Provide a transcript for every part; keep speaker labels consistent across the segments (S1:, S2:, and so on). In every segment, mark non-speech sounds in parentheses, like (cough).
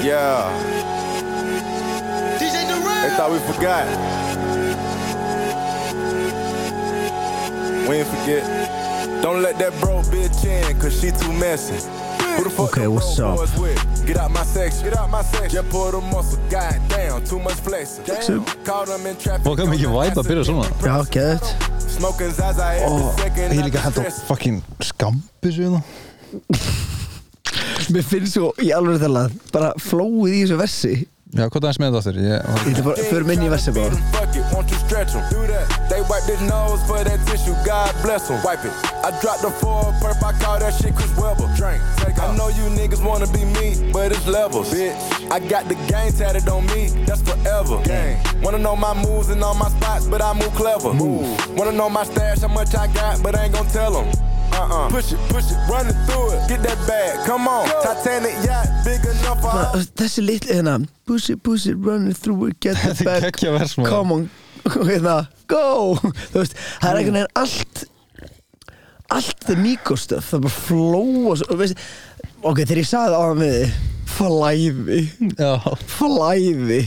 S1: Yeah. They thought we forgot. We ain't forget. Don't let that bro bitch in, cause she too messy. Who the fuck
S2: Okay,
S1: the
S2: what's
S1: bro
S2: up?
S1: boys With? Get out my section. Get out my section. Just pull the muscle. God damn, too much flexing. Damn. Caught them in traffic.
S3: Vá, hvað mikið væp að byrja svona.
S2: Já, geðvægt.
S1: Smoking Zaza every
S2: Oh,
S1: second.
S3: Ég líka
S1: I'm
S3: hægt á
S1: stressed.
S3: fucking skambis við það
S2: Mér finnst svo í alveg þærlega bara flóið í þessu versi
S3: Já, hvað það er smeðið aftur? Ég var
S2: Þetta er bara, förum inn í versi bara
S1: Fuck it, won't you stretch 'em? Do that. They wipe their nose for that tissue, God bless 'em. Wipe it. I dropped the four perp, I call that shit Chris Webber. Drink, take I know you niggas wanna be me, but it's levels. Bitch, I got the game tatted on me, that's forever. Gang. Wanna know my moves and all my spots, but I move clever. Move. Wanna know my stash, how much I got, but I ain't gon' tell 'em. Uh-uh. Push it, push it, run it through it. Get that bag, come on. Titanic yacht, big enough for all
S2: Bara, Þessi litli hérna Pussy, pussy, run it through it, get (laughs) it
S3: Þetta er
S2: back
S3: geggjað vers, maður.
S2: Come on, (laughs) hérna, go Þú veist, það er einhvern veginn allt Allt the Nico stuff Það er bara flóa svo, og veist, Ok, þegar ég sagði það á hann við þig, Flæði
S3: Já,
S2: Flæði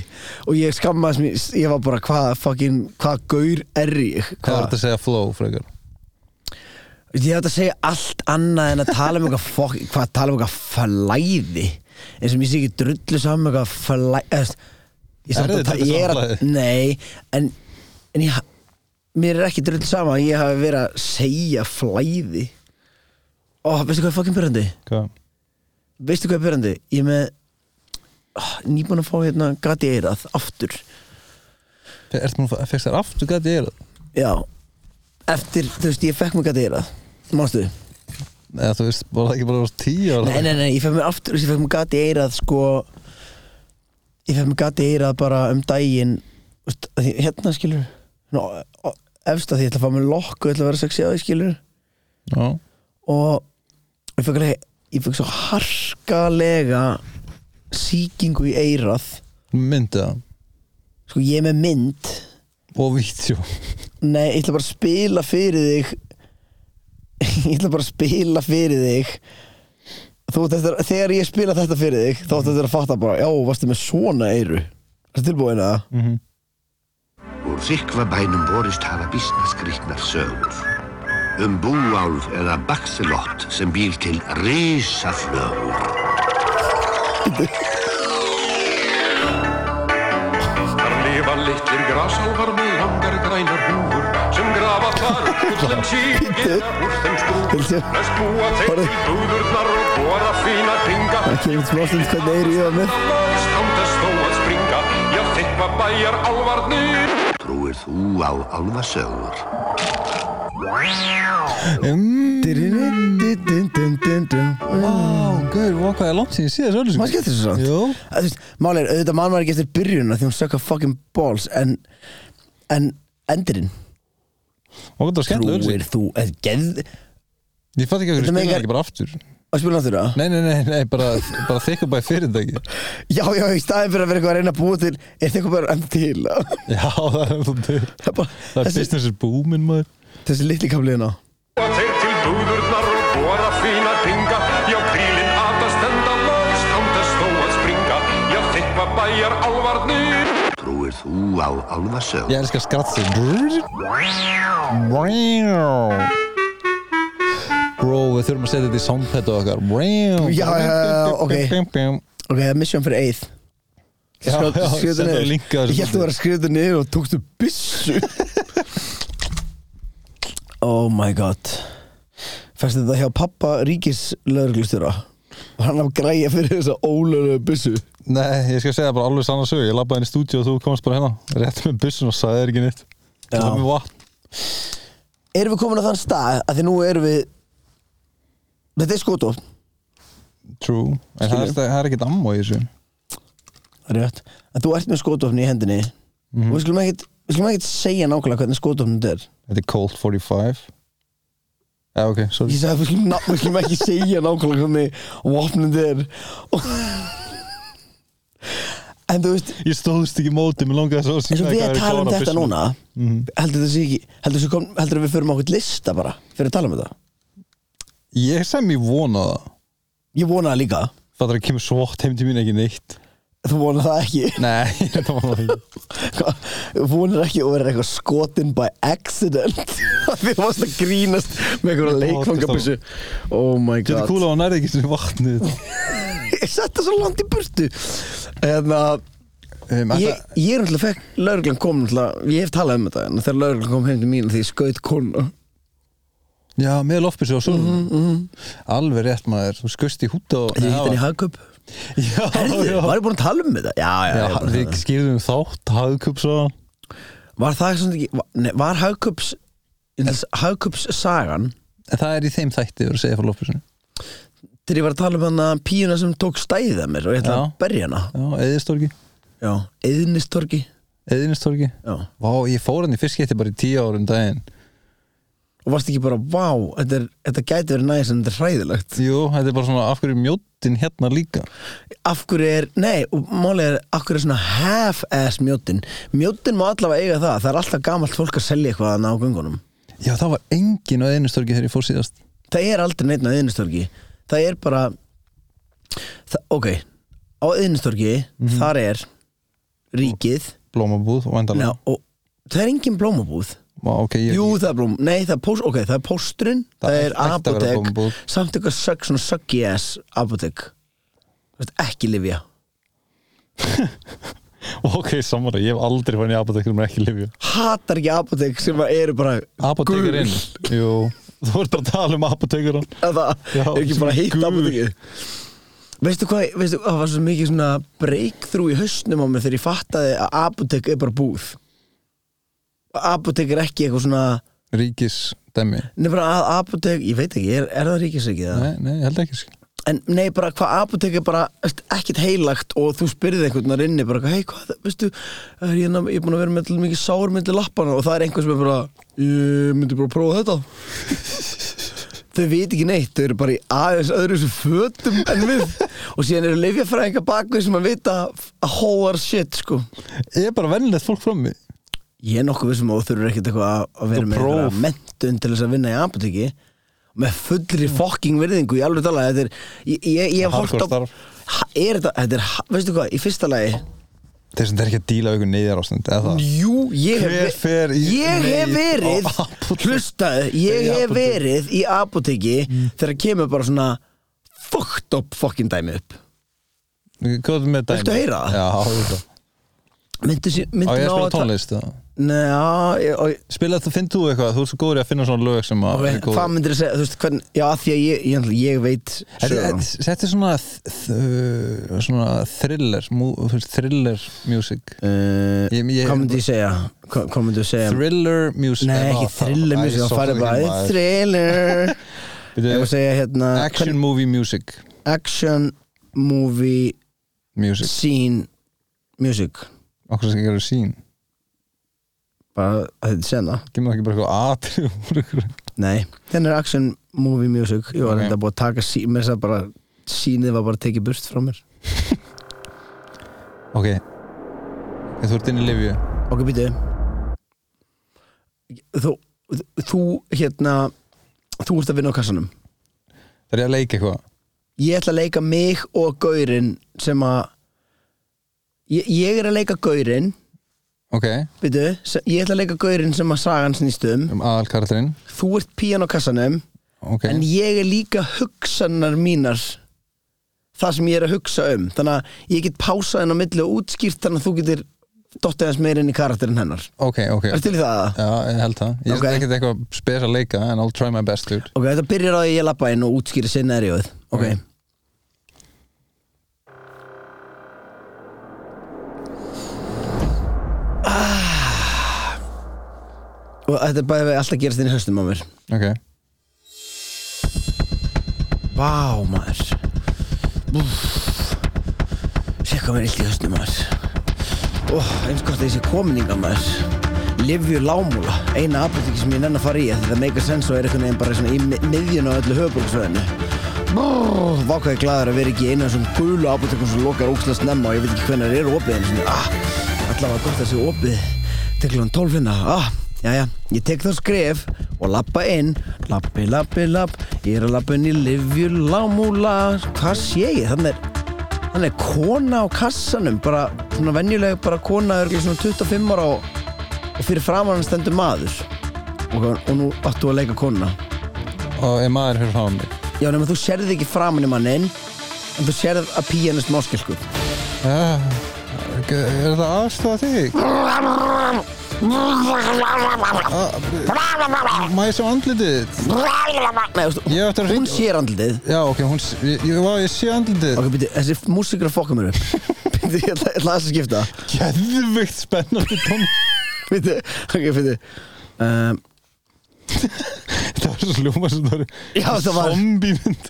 S2: Og ég skammaðist mér, ég var bara Hvað fucking, hvað gaur er ég
S3: hvað var þetta að segja flow, frekar?
S2: Ég ætla að segja allt annað en að tala um eitthvað fokk, hvað tala um eitthvað flæði eins og mér sé ekki drullu saman með eitthvað flæði eða, þú veist, ég, samt
S3: Er
S2: að
S3: þið
S2: ta-
S3: drullu
S2: ég er
S3: saman
S2: að,
S3: flæði?
S2: nei en, en ég, ha- mér er ekki drullu saman að ég hafi verið að segja flæði og veistu hvað er fokkin byrjandi?
S3: Hvað?
S2: veistu hvað er byrjandi? Ég er með oh, nýbúin að fá hérna gati eirað aftur
S3: Ertu múin að fyrst þér aftur gæti ég er það?
S2: já, eftir, þú veist, ég fekk mig gati eirað mástu?
S3: Eða þú veist, var það ekki bara tíu ára?
S2: Nei, nei, nei, ég fekk mér aftur, ég fekk mér gati eirað sko ég fekk mér gati eirað bara um daginn þú veist, að því- hérna skilur ná, á- efst að því ég ætla að fá mér lokk og ég ætla að vera sexy á því skilur
S3: Já,
S2: og ég fekk, alveg- ég fekk svo harkalega sýkingu í eirað
S3: myndi það
S2: sko ég er með mynd
S3: Og vídeo
S2: nei, ég ætla bara að spila fyrir þig ég ætla bara að spila fyrir þig þú, þetta, þegar ég spila þetta fyrir þig þá ætla þetta að fatta bara, já, varstu með svona eyru Ertu tilbúin að það?
S4: Úr Sikvabænum borist hafa bísnaskrýtnar sögur. Um búálf eða bakselott sem býr til risaflögur.
S5: Þar lifa litlir grásálfar með langar grænar húfur sem grafa þar upp úr þeim síkina úr þeim skrúfur
S2: Hildur.
S5: Næst búa þeim
S2: Horfðu.
S5: í búðurnar og bora fína ringa
S2: Það kemur smá stund hvernig eyru ég var með
S5: Standast þó að springa, já þykva bæjar alvarnir
S4: Trúir þú á álfasögur?
S3: Vá, gaur, vá, hvað er langt síðan ég sé þessu öllu
S2: Maður skemmtir þessu samt
S3: Jú
S2: Að Þú veist, Málið er, auðvitað mann var ekki eftir byrjunna því hún sökka fucking balls en, en endurinn
S3: Og hvað það var skemmtileg öllu
S2: Trúir þú, eða geð
S3: Ég fatt ekki að hverju
S2: Þetta
S3: spila
S2: meikar-
S3: ekki bara aftur
S2: að spila náttúrulega
S3: Nei, nei, nei, nei, bara, bara þykka bæ fyrirtæki
S2: Já, já, í staðin fyrir að vera eitthvað að reyna að búa til er þetta eitthvað bara enn til (laughs) Það
S3: Já, það er það til
S2: er bara,
S3: Það er
S2: þessi,
S3: business is booming, maður
S2: þessi litli hérna. kamliðin á
S5: Búa þeir til búðurnar og bora fína ringa Já krílinn aðast enda og standast þó að springa Já þykva bæjar alvarnir
S4: Trúir þú á álfasögur?
S3: Ég elskar skrattsinn Bro, við þurfum að setja þetta í soundpættu okkar
S2: Já, já, já, ok.
S3: Já,
S2: Ok, það er mission fyrir eið
S3: já, setja
S2: niður
S3: link að
S2: Ég
S3: þessu
S2: held að vera að skrifa þetta niður og tókstu byssu (laughs) Oh my god Fæstu þetta hjá pappa ríkis lögreglustjóra Var hann að græja fyrir þessa ólögu byssu
S3: Nei, ég skal segja bara alveg sann að sög Ég labbaði inn í stúdíu og þú komst bara hérna Rétt með bussun og sagði ekki neitt
S2: Já.
S3: Það með vatn
S2: Erum við komin á þann stað að því nú erum við Þetta er skotótt
S3: True En það er, það er ekkert ammo í þessu
S2: Rétt. að þú ert með skotofni í hendinni
S3: Mhm.
S2: og við skulum ekkit, við skulum ekkit segja nákvæmlega hvernig skotofni þetta er
S3: Þetta er Colt 45 Já, ok, sorry
S2: ég sagði við skulum, ná, við skulum ekki segja nákvæmlega hvernig vopnin þetta er og... en þú veist
S3: Ég stóðst ekki í móti, mér langaði svo að
S2: eins
S3: sýna
S2: og við
S3: hvað
S2: að
S3: er í
S2: tala um
S3: klára
S2: þetta
S3: byssuna.
S2: núna
S3: Mhm.
S2: heldur þetta sé ekki heldur, þessi kom, heldur við förum á okkur lista bara fyrir að tala um þetta
S3: Ég sem ég vona það
S2: ég vona það líka
S3: Það er að kemur svott heim til mín ekki neitt
S2: þú vonar það ekki (laughs)
S3: Nei, (laughs) þetta var það ekki
S2: Hvað, vonar ekki að vera eitthvað skotin by accident (laughs) því þú varst að grínast með einhverja leikfangabissu oh my
S3: Þetta er
S2: god
S3: kúla og nærði ekki sem vatnið
S2: (laughs) ég sett það svo langt í burtu en að
S3: um,
S2: Ég, ég er náttúrulega fekk, lauruglan kom náttúrulega, ég hef talað um þetta en þegar lauruglan kom heim til mín því ég skaut konu
S3: Já, með loftbissu á sólum Alveg rétt maður, þú skust í húta og
S2: Mhm, Ég hitt
S3: Nei,
S2: henni í
S3: það
S2: hagköp
S3: Já,
S2: Herðu,
S3: já
S2: var ég búin að tala um þetta? Já, já,
S3: Já,
S2: já
S3: við skýrðum þátt, hagkup svo
S2: Var það svona ekki, var- nei, var hagköps hagköps sagan
S3: En það er í þeim þætti, þú segir frá loftbissinu
S2: þegar ég var að tala um hana píuna sem tók stæðið að mér og ég ætla að
S3: Já.
S2: berja hana
S3: Já, eðistorgi,
S2: Já, eðnistorgi
S3: eðinistorgi
S2: Já.
S3: Vá, ég fór hann í fyrst geti bara í tíu árum daginn
S2: og varst ekki bara, vá, þetta, er, þetta gæti verið næs en þetta er hræðilegt
S3: Jú, þetta er bara svona, af hverju er mjóttin hérna líka
S2: af hverju er, nei, og málið er af hverju er svona half-ass mjótin mjótin má allavega eiga það, það er alltaf gamalt fólk að selja eitthvað að ná göngunum
S3: Já, það var engin á eðinistorgi þegar ég fór síðast
S2: það er aldrei neitt á eðnistorgi það er bara það, ok, á eðnistorgi þar er ríkið
S3: Blómabúð,
S2: na,
S3: væntalega
S2: og það er engin blómabúð
S3: Vá, ok, ég
S2: Mhm. Jú, það er blóm, nei, það er, post, okay, það er pósturinn
S3: Það
S2: Það,
S3: er
S2: er
S3: ætti að vera blómabúð.
S2: apotek Samt eitthvað sög, svona söggi ass apotek Þú veist, Ekki lifja
S3: Ok, samanlega, ég hef aldrei fann í apotekur með ekki lifju
S2: Hatar ekki apotek sem að eru bara
S3: Apotekurinn?
S2: gul.
S3: Jú, þú voru bara að tala um apotekurinn
S2: Að Það
S3: Já,
S2: er ekki bara hitt
S3: gul.
S2: apotekið Veistu hvað, veistu, það var svo mikið svona breakthrough í hausnum á mér þegar ég fattaði að apotek er bara búð Apotek er ekki eitthvað svona
S3: Ríkisdæmi
S2: Nei, bara að apotek, ég veit ekki, er, er það ríkisrikið það?
S3: Nei, nei, ég held ekki sko. skil
S2: en nei bara hvað apotek er bara veist, ekkert heilagt og þú spyrði einhvern þar inni bara hei hvað, veistu er ég, ná- ég er búin að vera með til mikið sár myndi lappana og það er einhver sem er bara ég myndi bara prófa þetta þau veit ekki neitt, þau eru bara í aðeins öðru sem fötum en við og síðan eru leifjafræðingar bakvið sem að vita að hóar shit sko
S3: Ég er bara vennilegt fólk frammi
S2: ég er nokkuð vissum að þú þurfur ekkert eitthvað að- að vera
S3: Þú
S2: með
S3: próf.
S2: eitthvað mentun til þess að vinna í apoteki með fullri
S3: Mm.
S2: fokking virðingu í alveg tala þetta er, ég, ég, ég hef
S3: Hardcore
S2: hort á
S3: starf.
S2: Ha- er þetta, þetta er, ha- veistu hvað, í fyrsta lagi
S3: Þess að það er ekki að díla við ykkur neyðar ástand eða það
S2: jú, ég hef,
S3: Hver fer í
S2: ég hef
S3: neyð
S2: verið
S3: á apótek?
S2: hlustaðu, ég
S3: Í
S2: hef
S3: apótek. Mm.
S2: verið í apoteki þegar kemur bara svona fucked up fucking dæmi upp
S3: Hvað er með dæmi?
S2: Viltu heyra það?
S3: Já, auðvitað.
S2: myndu, sí- myndu
S3: á ég að
S2: ná
S3: spila
S2: ta-
S3: tónlist eða?
S2: Nei, já, ég- og-
S3: Spila það, finn þú eitthvað, þú ert svo góður í að finna svona lög sem að
S2: ok,
S3: eru góð.
S2: hvað myndir þú segja, þú veist, hvern, já, af því að ég, ég, ég veit
S3: Þetta
S2: söguna.
S3: þetta- þetta er svona, þ- þ- svona thriller, mú, þú veist, thriller music
S2: Uh,
S3: Ég- ég-
S2: hvað myndi ég segja? Hvað, hvað myndi ég segja?
S3: Thriller music
S2: Nei, ekki thriller music, þá farið bara Thriller
S3: (laughs)
S2: Ég
S3: Byrju,
S2: var að segja hérna
S3: Action movie music
S2: hvern- action movie
S3: Music
S2: scene music
S3: Okkur sem ekki eru sín
S2: Bara að þetta sena
S3: Gimma ekki bara eitthvað atrið úr ykkur
S2: Nei, hérna er action movie music Ég var
S3: Ok.
S2: þetta búið að taka sí, með þess að bara Sýnið var bara tekið burst frá mér
S3: Ok Ég þú ert inn í Livju
S2: Ok, býtu Þú, þú hérna Þú ert að vinna á kassanum
S3: Það er ég að leika eitthvað
S2: ég ætla að leika mig og gaurinn sem að ég, ég er að leika gaurinn
S3: Ok
S2: byrju, ég ætla að leika gaurinn sem að sagan snýst um
S3: Um aðalkarakterinn
S2: þú ert pían á kassanum
S3: Ok
S2: en ég er líka hugsanar mínar það sem ég er að hugsa um þannig að ég get pásað henn á milli og útskýrt þannig að þú getur dottið hans meir inn í karakterinn hennar
S3: Ok, ok
S2: er til í það?
S3: Já, ég held það Ég
S2: Ok.
S3: okay. ekkert eitthvað spes að leika En I'll try my best dude
S2: Ok, þetta byrjar á því að ég lappa inn og útskýri scenarióið Ok
S3: Ok.
S2: Ah. Og þetta er bæðið alltaf gerast inn í höstum á mér
S3: Ok
S2: Vá maður Sér hvað mér er illt í höstum maður Ó, eins gott að ég sé komin inga maður Livju lámúla Eina apotekki sem ég nenn að fara í af því Það meikar sens og er einhvern veginn bara svona í mi- miðjun á öllu höfuborgsveðinu Vákvæði glæður að vera ekki í einu af þessum gulu apotekum sem lokar ógslast snemma og ég veit ekki hvernig það eru opið en svona, ah, allavega gott að sé opið til klukkan 12 hérna, ah, jæja, ég tek þá skref og lappa inn, lappi, lappi, lapp, ég er að lappa inn í Livju Lámúla, hvað sé ég, þannig er, Hann er kona á kassanum bara svona venjuleg bara kona er svona 25 ára og, og fyrir framan hann stendur maður og, og nú áttu að leika kona
S3: og er maður fyrir fram mig
S2: Já, nema þú sérði ekki framan í mannin en þú sérði að píanist máskelku
S3: Já, Ah, er það aðstæða þig? Ah, Má ég sjá andlitið þitt?
S2: Nei, veistu,
S3: Ég á eftir að
S2: hún
S3: hringja-
S2: sér andlitið
S3: Já, ok, hún, s- ég, ég, vá, ég sé andlitið
S2: Ok, byrju, þessi músikur að fokka mér upp
S3: (laughs)
S2: Byrju, ég ætla ég ætla aðeins að skipta
S3: Geðvikt spennandi tón
S2: Byrju, ok, byrju um,
S3: Þetta var (laughs) svo sljóma sem það var
S2: Já, þetta var-
S3: Zombímynd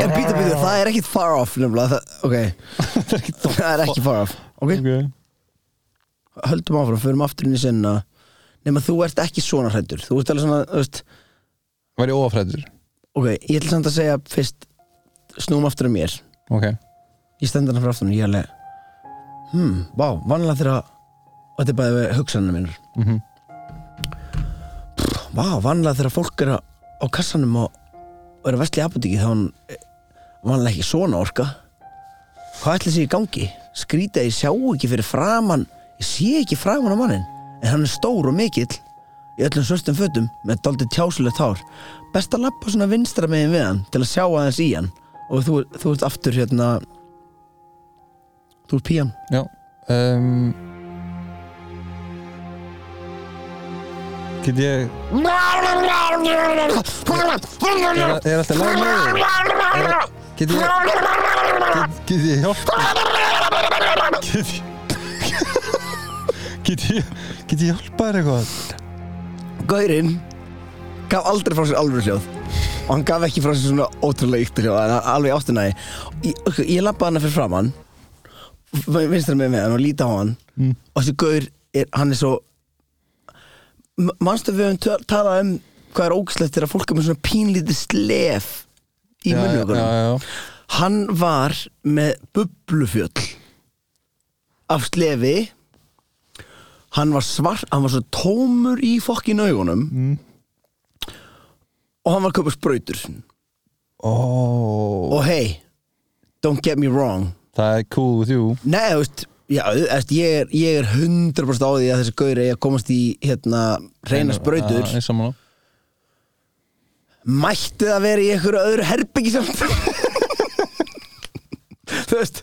S2: En býta, býta, það er ekkit far off nefnilega, það, ok,
S3: (laughs) Það er ekki tón
S2: það er ekki far off Ok,
S3: Ok,
S2: höldum áfram, förum aftur inn í sinna nema þú ert ekki svona hrættur þú ert alveg svona, þú veist
S3: var ég óafrættur
S2: ok, ég ætla samt að segja fyrst snúum aftur að mér
S3: Ok,
S2: ég stend hana frá aftur og ég er alveg hmm, vá, vanlega þegar að og þetta er bæðið við hugsanum minnur
S3: Mhm.
S2: Pff, vá, vanlega þegar fólk er að, á kassanum og, og er að vestli apotíki þá er hann eh, vanlega ekki svona orka hvað ætli sér í gangi skrýta ég sjá ekki fyrir framan ég sé ekki framan á mannin en hann er stór og mikill í öllum svörstum fötum með daldið tjásulegt hár best að lappa svona vinstra megin við hann til að sjá aðeins í hann og þú, þú ert aftur hérna þú ert pían
S3: já um, Get ég Er, er alltaf lag með þig? Get ég get, get ég hjálpa Get ég Get ég Get ég hjálpa þér eitthvað?
S2: Gaurinn gaf aldrei frá sér alvöru hljóð og hann gaf ekki frá sér svona ótrúlega ykta hljóð en hann alveg áttunæði ég, ok, ég lappaði hann fyrir fram hann vinstra með með hann og líti á hann og þessi gaur, er, hann er svo M- manstu við höfum töl- talað um hvað er ógislegt þegar fólk er með svona pínlítið slef í
S3: Já, já,
S2: munnugunum
S3: já, já.
S2: Hann var með bublufjöll af slefi Hann var svart, hann var svo tómur í fokkin augunum og hann var að köpa sprautur
S3: Ó
S2: og hey, don't get me wrong
S3: Það er cool with you
S2: Nei, þú veist, já, þú veist ég, er, ég er 100% á því að þessi gaur eigi að komast í hérna, reyna sprautur
S3: Já, ég er sammála.
S2: mætti það vera í einhverju öðru herbyggi samt þú veist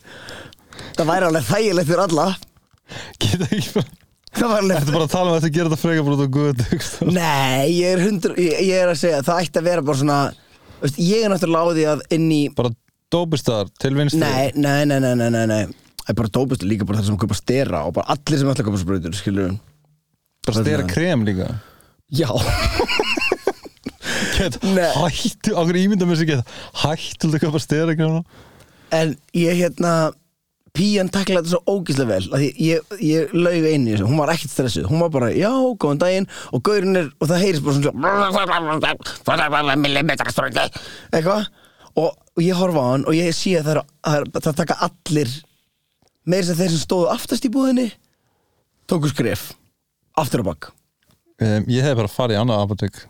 S2: það væri alveg þægilegt fyrir alla
S3: Get ekki bara
S2: það væri
S3: Þetta
S2: alveg
S3: er bara að tala um að þetta gera þetta freka brot og guð hugsa.
S2: nei, ég er, hundra, ég, ég er að segja það ætti að vera bara svona þú veist, ég er náttúrulega á því að inn í
S3: Bara dópistar til vinstri
S2: nei, nei, nei, nei, nei, nei, nei. það er bara dópust líka bara það sem köpa stera og bara allir sem ætla að köpa sprautur skilur
S3: Bara stera krem líka
S2: já,
S3: Get,
S2: Nei.
S3: Hættu, okkur ímynda mér sér get Hættu líka bara stera krem
S2: en ég hérna Pían taklaði þetta svo ógíslega vel að ég, ég, ég laug einu í þessu, hún var ekkert stressuð hún var bara, já, góðan daginn og gaurinn er, og það heyrist bara svona eitthvað og, og ég horfa á hann og ég sé að það, er, það, er, það taka allir meira þess að þeir sem stóðu aftast í búðinni tóku skref aftur á bakk
S3: um, Ég hef bara farið í annað apotek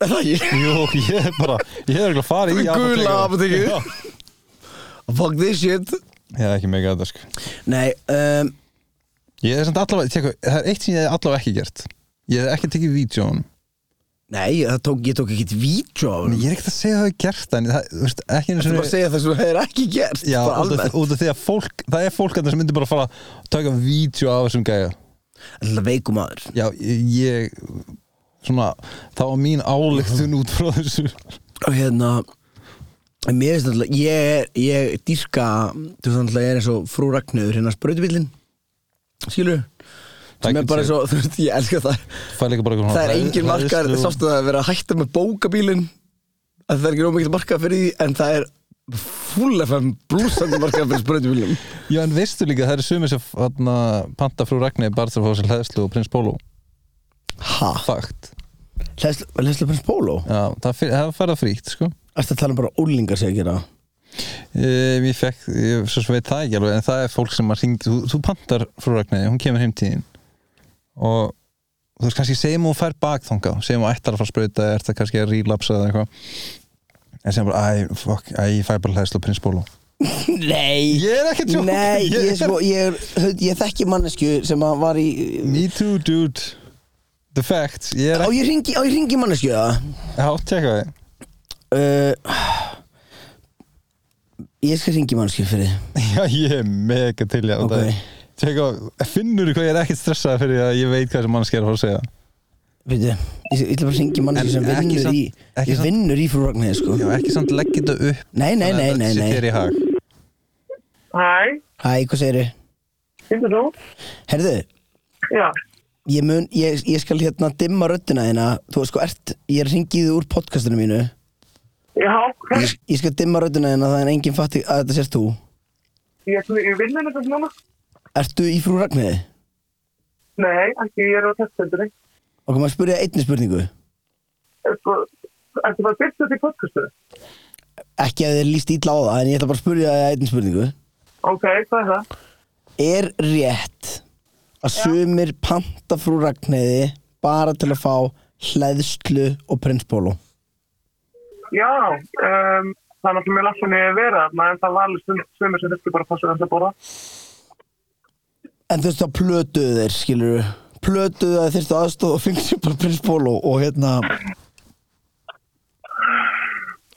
S2: er það (laughs) ekki?
S3: Jú, ég hef bara Ég hef ekki farið í sko.
S2: Gula
S3: apotek
S2: apótekið.
S3: Já,
S2: fuck this shit
S3: Ég hef ekki mega þetta sko
S2: nei, um,
S3: Ég hef samt allavega, tjekku, það er eitt sem ég hef allavega ekki gert Ég hef ekki tekið vídjón
S2: nei það tók, ég tók ekkert vídeo á hann
S3: Ég er ekkert að segja að það er gert en það, þú veist, ekki einu
S2: Þú bara að
S3: sinni-
S2: segja það sem það er ekki gert
S3: Já,
S2: bara
S3: út af,
S2: almennt
S3: út af því að fólk Það er fólk að það sem myndi bara fara að taka vídjó af þessum gæja
S2: Alltaf veikum aður
S3: Já, ég svona, það var mín ályktun út frá þessu
S2: Og hérna en Mér finnst alltaf Ég, er- ég dýrka Þú veist alltaf ég er eins og frú Ragnöður Hérna sprautubillin Skilur Sem er
S3: Tæknir
S2: bara
S3: sér.
S2: svo (laughs) Þú veist, ég elska það
S3: Það er líka bara eitthvað
S2: Það er sko-
S3: hræð-
S2: engin markar
S3: hræðslu-
S2: Sástu það að vera að hætta með bókabílin að Það er ekki nómikil markað fyrir því En það er full FM blúsandi markað fyrir sprautubílin
S3: Já, en veistu líka, það eru sumir sem hana, panta frú Ragnar Barþur fór sér hlæðslu og prins Bóló
S2: Ha?
S3: Fakt
S2: Leslu prins Pólo?
S3: Já, það, fyr, það fara fríkt, sko
S2: Æstu að tala um bara úlingar sem að gera það?
S3: Ehm, Ég fekk, ég, svo sem veit það ekki alveg en það er fólk sem að hringi, þú, þú pantar frú Ragnar, hún kemur heim tíðin og þú veist kannski segjum hún fær bakþanga, segjum hún ættar að fara að sprauta er það kannski að relapsa eða eitthvað en segjum bara, æ, fuck, æ, ég fæ bara hlæðslu og prins Bóló
S2: Nei
S3: Ég er ekki að djóka.
S2: Nei,
S3: Ég
S2: ég,
S3: er-
S2: sko, ég, er, ég þekki mannesku sem að var í
S3: Me too dude The facts Ég er
S2: Á
S3: ekki
S2: ég ringi, á ég ringi mannesku það
S3: Hátt tjekka þig
S2: uh, Ég skal ringi mannesku fyrir þig.
S3: (laughs) Já, ég er mega til í
S2: Ok.
S3: þetta Tjekka, finnur þú hvað ég er ekkert stressað fyrir að ég veit hvað þessi mannski er að fara að segja
S2: Veitu, ég ég ætla bara að ringi mannesku
S3: En
S2: sem
S3: ekki
S2: vinnur
S3: samt-
S2: í
S3: ekki
S2: Ég
S3: samt-
S2: vinnur í frú Ragnhæði sko
S3: Já, ekki samt leggja þetta upp
S2: Nei, nei, nei, nei,
S3: Þetta sé þér
S2: nei
S3: í hag
S6: Hæ,
S2: Hæ, hvað segirðu?
S6: finnst þú?
S2: Herðu,
S6: Já,
S2: ég mun, ég, ég skal hérna dimma röddina þína Þú veist sko, ert, ég ringi þig úr podcastinu mínu
S6: já,
S2: Ég, ég skal dimma röddina þína þannig að enginn fatti að þetta sérst þú
S6: ég, ég vinn henni þetta núna.
S2: Ertu í frú Ragnhæði?
S6: Nei, ekki, ég er á testöldinni.
S2: Og maður spurði að einni spurningu
S6: Sko, ertu bara byrst þetta í podcastu?
S2: Ekki að þið er líst ítla á það En ég ætla bara að spurja að einni spurningu
S6: Ok, hvað er það?
S2: Er rétt að sumir panta frú Ragnheiði bara til að fá hlæðslu og prinspólu
S6: Já, um, það er náttúrulega mjög langt sem ég hef verið þarna, en það var alveg sum- sumir sem þurfti bara að passa þess að borða.
S2: En þú veist að plötuðu þeir skilur Plötuðu að þeir þurftu aðstoð og fengur sér bara prinspólu Og hérna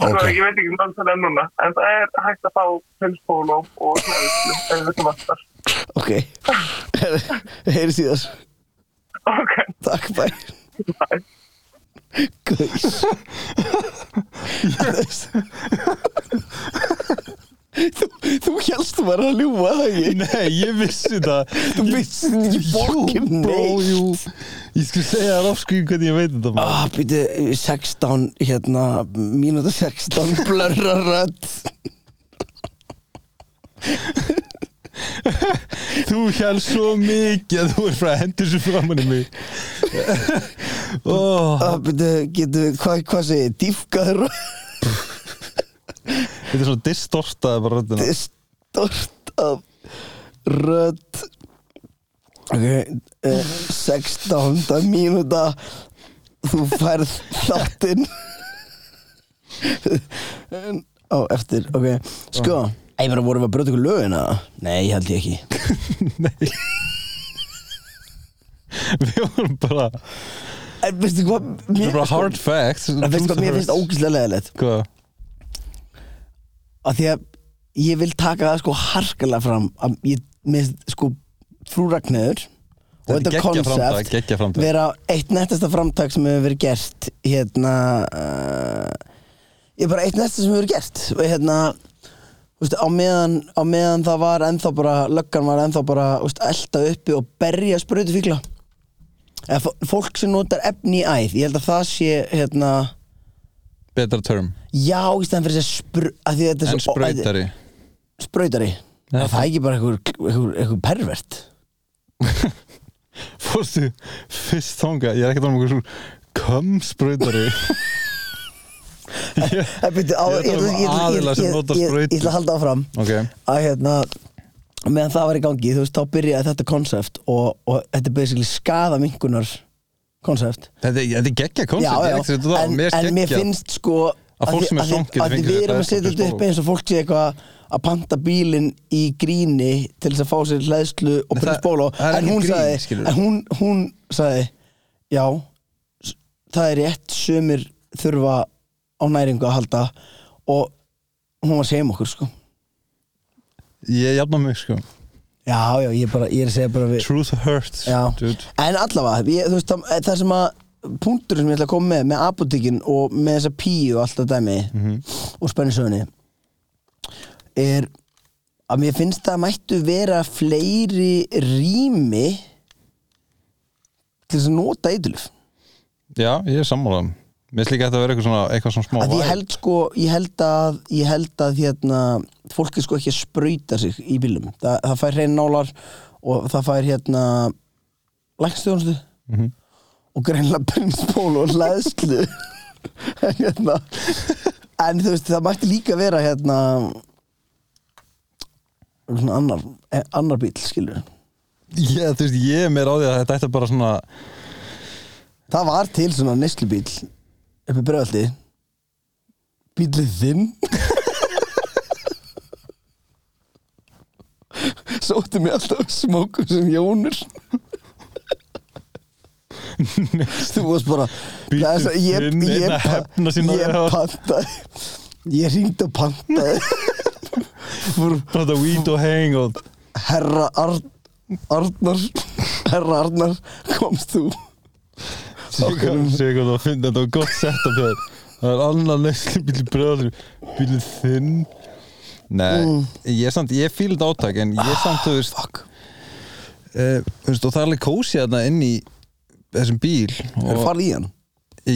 S6: Okay.
S2: Ok.
S6: Svo, ég veit ekki hvað það er núna, en það er hægt að fá pilspólu og hlæðislu, ef þetta vantar.
S2: Ok Heyri síðar
S6: Ok,
S2: Takk bæ
S6: bye.
S2: Guðs Þú, þú helst þú bara að ljúga það ekki
S3: Nei, ég vissi það Þú
S2: vissi þetta ekki, borgin
S3: Jú, bro,
S2: neitt.
S3: jú Ég skulle segja það ofskrið hvernig ég veit þetta maður.
S2: Ah, býtu, 16, hérna, mínúta 16, blörra rödd.
S3: Þú hélst svo mikið að þú er frá að hendur sér framan í (laughs) mig oh,
S2: Ah, býtu, getur við, hvað, hvað segir, ég? dýfkaður
S3: Þetta er svona distortaði bara röddina
S2: rödd, stort af rödd. Ok, eh, 16 mínúta, þú færð þáttinn. En, Á, eftir, ok, sko, ég bara vorum við að brjóta ykkur lögin að það? Nei, held ég ekki.
S3: (laughs) Við vorum bara Þetta
S2: En veistu hvað, mér,
S3: er bara hard facts
S2: En veistu hvað mér finnst ógæslega leðilegt?
S3: Hvað?
S2: að því að ég vil taka það sko harkalega fram að ég minnst sko frú Ragnhöður og
S3: Þetta er
S2: þetta
S3: geggjað framtak,
S2: koncept
S3: geggjað framtak.
S2: vera eitt nettasta framtak sem hefur verið gert hérna uh, ég er bara eitt nettasta sem hefur verið gert og hérna Úst, á, meðan, á meðan það var ennþá bara löggan var ennþá bara úst, elda uppi og berja sprautu fíkla eða fó- fólk sem notar efni í æð ég held að það sé hérna
S3: Betra term
S2: já, í stæðan fyrir að spru að því að þetta er
S3: En
S2: svo- að-
S3: sprautari
S2: sprautari
S3: Já.
S2: Er það er ekki bara einhver, einhver, einhver pervert
S3: Fórstu fyrst þanga Ég er ekki að tala um einhver svona Kömsbrautari Ég-
S2: Æ, byrju, á-
S3: Ég er að tala um
S2: ég ætla- ég
S3: aðila
S2: ætla-
S3: sem
S2: ég-
S3: nota
S2: ég-
S3: sprautu.
S2: ég ætla að halda áfram
S3: Ok
S2: að hérna meðan það var í gangi, þú veist, þá byrjaði þetta konsept og, og þetta er basically skaða minkunar konsept
S3: (laughs) Þetta er- þetta er geggja koncept Ég er ekki að um- þetta
S2: en, en mér finnst sko
S3: að fólk
S2: því-
S3: sem er
S2: því-
S3: svangið
S2: að því
S3: fengi
S2: við
S3: þetta
S2: erum að
S3: er
S2: setja
S3: svolítið
S2: þetta upp
S3: stór.
S2: eins og fólk sé eitthvað að panta bílinn í gríni til þess að fá sér hlæðslu og
S3: Nei,
S2: prins
S3: það-
S2: bólo
S3: það er
S2: en
S3: ekki
S2: hún
S3: grín,
S2: sagði,
S3: skilurðu.
S2: en hún, hún sagði já, s- það er rétt sömur þurfa á næringu að halda og hún var að segja um okkur sko
S3: Ég jafna mig sko
S2: já, já, ég, bara, ég er að segja bara við
S3: Truth hurts
S2: Já,
S3: dude.
S2: en allavega ég, þú veist, það, það sem að punkturinn sem ég ætla að koma með, með apotekin og með þessa píu og alltaf dæmi og spennisögunni er að mér finnst að mættu vera fleiri rými til þess að nota eitulif
S3: Já, ég er sammálaðum Mér finnst líka að þetta vera eitthvað svona Eitthvað svona smá
S2: að ég
S3: væl.
S2: held sko ég held að, ég held að hérna, fólk er sko ekki að sprauta sig í bílum Þa, það fær hrein nálar og það fær hérna lækstjónustu og greinlega prinspól og hlæðslu (laughs) en hérna en þú veist það mætti líka vera hérna svona annar, eh, annar bíl skilur
S3: Ég, þú veist, ég er mér á því að þetta ætti bara svona
S2: það var til svona neslubíl uppi bregðaldi bílið þinn (laughs) sótti mig alltaf smóku sem
S3: (laughs)
S2: Jónur þú varst bara
S3: Bíddu,
S2: það er svo- ég,
S3: finn
S2: ég,
S3: einn að hefna sín á
S2: ég, ég
S3: þér.
S2: pantaði ég ringdi og pantaði
S3: (laughs)
S2: fór
S3: Þetta weed og hang og
S2: herra Arn, Arnar herra Arnar komst þú
S3: Sigurður Sigurður að finna þetta var gott sett af þér Það er annar neysli bíli bröður bíli þinn Nei, ég er samt, ég fíl þetta átak en ég er samt, þú veist
S2: Mm. Ah, fuck
S3: eh, þú veist, og það er alveg kósi þarna inn í þessum bíl
S2: er
S3: og
S2: farið í hann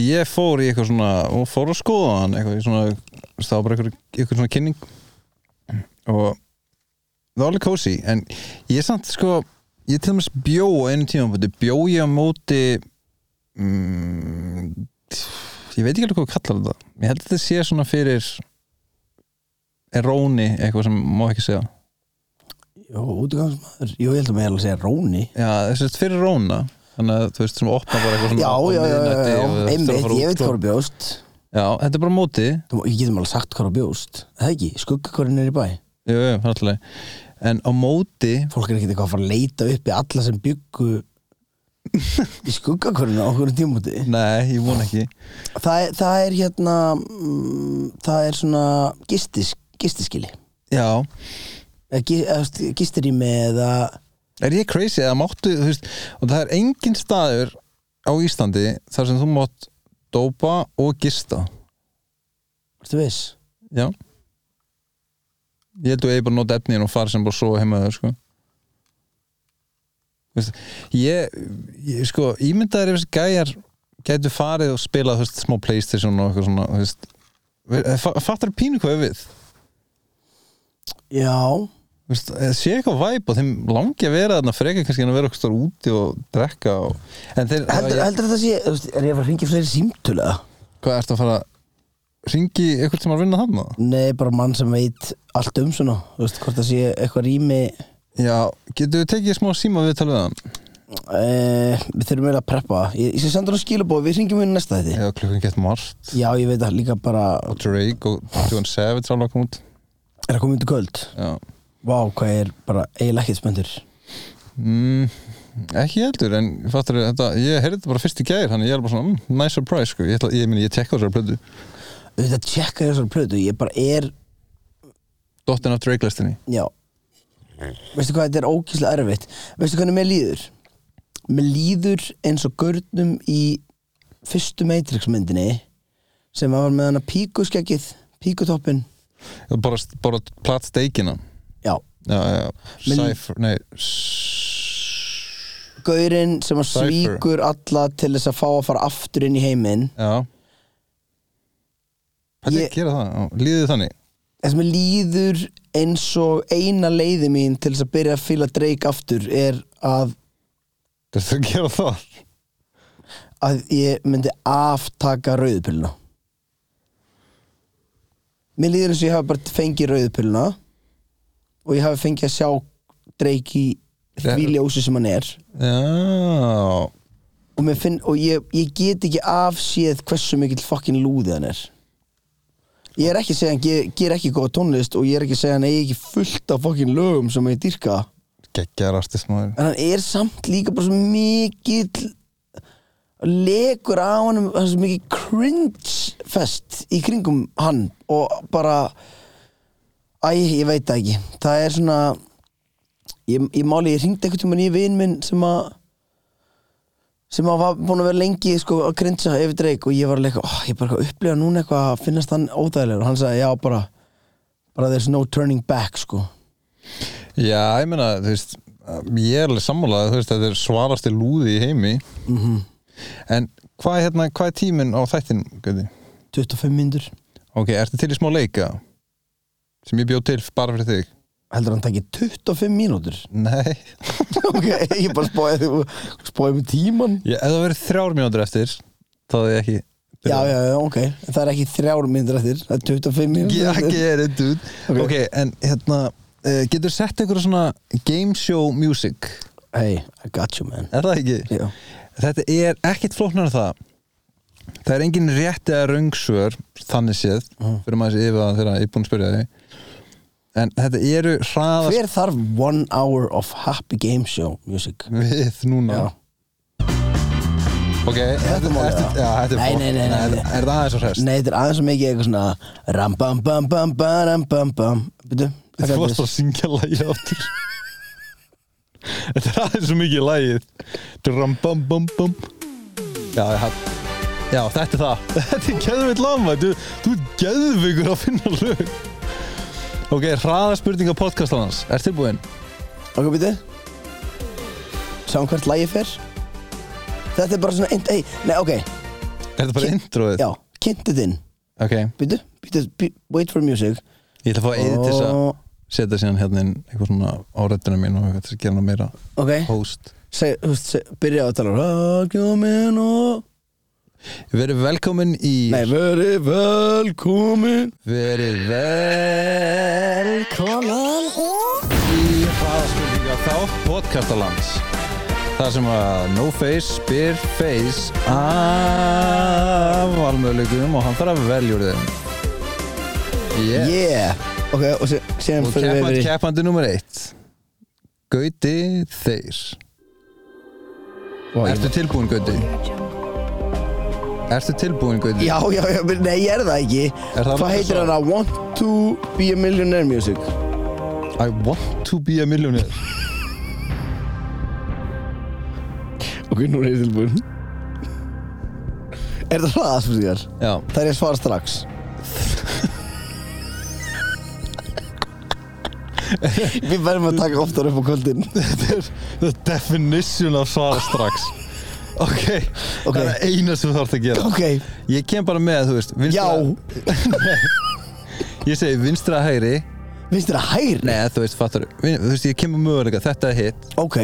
S3: ég fór í eitthvað svona og fór að skoða hann eitthvað, í svona, þú veist, það var bara eitthvað, eitthvað svona kynning og það var alveg kósi en ég samt sko ég til dæmis bjó á einu tíma bjó ég á móti mm, ég veit ekki alveg hvað kallar þetta ég held að þetta sé svona fyrir eróni eitthvað sem má ekki segja
S2: Jó, útgangsmaður, jú, ég held að maður eiginlega segja Róni
S3: já, þess að fyrir róna þannig að þú veist sem opna bara eitthvað svona
S2: Já,
S3: á
S2: já, já, já, já,
S3: miðnætti og þú þarft að
S2: einmitt,
S3: fara
S2: ég
S3: út
S2: veit
S3: og-
S2: hvað er bjóst
S3: já, þetta er bara móti
S2: Þú- Ég getum alveg sagt hvað er bjóst Er Það ekki, skuggakvarinn er í bæ
S3: Jú, jú, náttúrulega En á móti
S2: Fólk er ekkert eitthvað að fara að leita uppi alla sem byggu í skuggakvarinn á okkur tímúti
S3: Nei, ég von ekki
S2: það, er- það er hérna mm, það er svona gistis, gistiskili
S3: Já,
S2: Eða gi- eða, þú veist, gistirými eða
S3: er ég crazy eða máttu þú veist, Og það er engin staður á Íslandi Þar sem þú mátt dópa og gista
S2: Ertu viss?
S3: Já Ég held að ég bara nota efnin og fara sem bara svo heima þau sko Þú veist, ég, ég sko, ímyndaður ef þessi gæjar gætu farið og spilað þú veist, smá Playstation og eitthvað svona þú veist, Fa- fattar pínu hvað ég á við
S2: Já,
S3: Þú veist, eða sé eitthvað væp og þeim langi að vera þarna frekar kannski en að vera okkur stór úti og drekka og... en þeir,
S2: heldur,
S3: ég,
S2: heldur þetta sé þú veist, Er ég að fara að hringja í fleiri símtölu? eða?
S3: hvað ertu að fara ringi eitthvað sem er að vinna þarna
S2: Nei, bara mann sem veit allt um svona Þú veist, hvort það sé eitthvað rými
S3: já, getur við tekið smá síma við tala við hann
S2: Uh, við þurfum eiginlega að preppa það. ég, ég skal senda hann skilabóð, við hringjum inn næsta þetta
S3: eða klukkan gett margt
S2: já, ég veit að líka bara
S3: og Drake og John Savage alveg að koma út
S2: er að koma undir kvöld
S3: já.
S2: vá, hvað ég er bara eiginlega ekkert spöndur
S3: Mm, ekki heldur en fattur, þetta, ég heyrði þetta bara fyrst í gær þannig ég er bara svona, mm, nice surprise sko. ég, ætla, ég, meni, ég tekka þessar plötu
S2: auðvitað tjekka ég þessar plötu, ég bara er
S3: dottin af Drake listinni
S2: já veistu hvað, þetta er ókýrslega erfitt veistu hvernig mér líður? mér líður eins og görnum í fyrstu Matrix myndinni sem var með hana píkuskeggið píkutoppin,
S3: bara, bara platsteikina
S2: já
S3: já, já, já.
S2: Men-
S3: Cypher, nei s-
S2: gaurinn sem að
S3: Cypher.
S2: svíkur alla til þess að fá að fara aftur inn í heiminn
S3: Já Hvernig
S2: Ég-
S3: gera það? Já, Líðið þannig?
S2: það sem mér líður eins og eina leiði mín til þess að byrja að fýla Drake aftur er að,
S3: Þetta er að gera það
S2: að ég myndi aftaka rauðupiluna mér líður eins og ég hafi bara fengið rauðupiluna og ég hafi fengið að sjá Drake í því ljósi sem hann er
S3: Já
S2: og, mér finn, og ég, ég get ekki afséð hversu mikill fucking lúði hann er ég er ekki að segja hann ger, ger ekki góða tónlist og ég er ekki að segja hann eigi ekki fullt af fucking lögum sem ég dýrka
S3: Gekkja rastist maður
S2: en hann er samt líka bara svo mikill legur á honum hann er svo mikill cringe fest í kringum hann og bara æ, ég veit það ekki það er svona ég, ég máli, ég ringdi einhvern tímann í vin minn sem að sem að var búin að vera lengi sko, að grinsa yfir dreik og ég var alveg oh, ég bara eitthvað að upplifa núna eitthvað að finnast hann óþægilegur og hann sagði já bara bara there's no turning back sko
S3: Já, ég meina, þú veist Ég er alveg sammálaðið, þú veist, þetta er svarasti lúði í heimi
S2: Mhm.
S3: En hvað er, hérna, hvað er tíminn á þættin, Gauti?
S2: 25 myndur
S3: Ok, ertu til í smá leika? Sem ég bjóð til bara fyrir þig
S2: heldur hann takið 25 mínútur
S3: Nei
S2: ok, ég bara spóið spóið með tíman
S3: Ég, Ef það verið þrjár mínútur eftir þá er ég ekki
S2: já, já, já, ok, það er ekki þrjár myndir eftir það er 25 myndir (laughs)
S3: Ég ekki er þetta út
S2: Ok.
S3: okay. en hérna uh, getur sett einhverja svona game show music
S2: hey, I got you man
S3: er það ekki?
S2: já,
S3: Þetta er ekkit flóknar það Það er engin rétt eða röngsvör þannig séð fyrir maður þessi yfir það þegar ég er búinn að spyrja þig en þetta eru hraðast
S2: Hver þarf one hour of happy game show music?
S3: við núna
S2: Já.
S3: ok, þetta
S2: málið,
S3: ertu-
S2: já.
S3: já, þetta er
S2: Nei, nei,
S3: fólk-
S2: nei, nei,
S3: er-
S2: nei.
S3: er það aðeins og hrest?
S2: Nei, þetta er aðeins og mikið eitthvað svona Ram bam bam bam bam ram bam bam Býtu,
S3: þú
S2: taka
S3: varst
S2: þetta
S3: að syngja lagið áttur þetta er aðeins og mikið lagið drum bum bum bum já, ég haf Já, þetta er það. (laughs) Þetta er geðveitt lama. Þú, þú er geðveikur að finna lög. Ok, hraðaspurninga podcastan hans. Er tilbúin?
S2: Ok, býtu Sáum hvert lagi fer Þetta er bara svona einn, ei, nei, ok
S3: Er þetta bara
S2: Ki-
S3: introið?
S2: Já, kynntið inn
S3: Ok,
S2: Býtu, býtu, bý- wait for music
S3: ég ætla að fá eða til þess að
S2: Og-
S3: setja síðan hérna inn eitthvað svona á röddina mín og eitthvað til að gera hana meira
S2: Ok,
S3: host.
S2: seg, þú veist, seg, byrja á að tala Rákjómin og
S3: Verið velkomin í
S2: Nei, veri velkomin
S3: Verið velkomin í hraðaspurninga þá podcastalands þar sem að No Face spyr Face af valmöðleikum og hann þarf að velja úr þeim Yeah,
S2: Yeah Ok, og sé- síðan
S3: og
S2: fyrir við
S3: keppandi,
S2: yfir í
S3: keppandi nummer eitt Gauti Þeir
S2: Ó, ég-
S3: Ertu tilbúin, Gauti? Ertu tilbúin, Gauti?
S2: Já, já, já, men- nei, ég er það ekki
S3: Er
S2: Hvað
S3: það nokkuð
S2: heitir
S3: svo?
S2: hann að Want to be a millionaire music?
S3: I want to be a millionaire
S2: Ok, nú er ég tilbúin Er það hraðaspurningar?
S3: Já,
S2: Það er ég að svara
S3: (laughs)
S2: strax Við verðum að taka oftar upp á kvöldin
S3: þetta er the definition af svara strax Ok,
S2: Ok.
S3: það er eina sem þú þarf að gera
S2: Ok,
S3: Ég kem bara með, þú veist
S2: já,
S3: vinstra, (laughs) Ég segi vinstra hægri
S2: finnst þér að hægri?
S3: Nei, þú veist, fattar Þú veist, ég kem með möguleika, þetta er hitt
S2: Ok,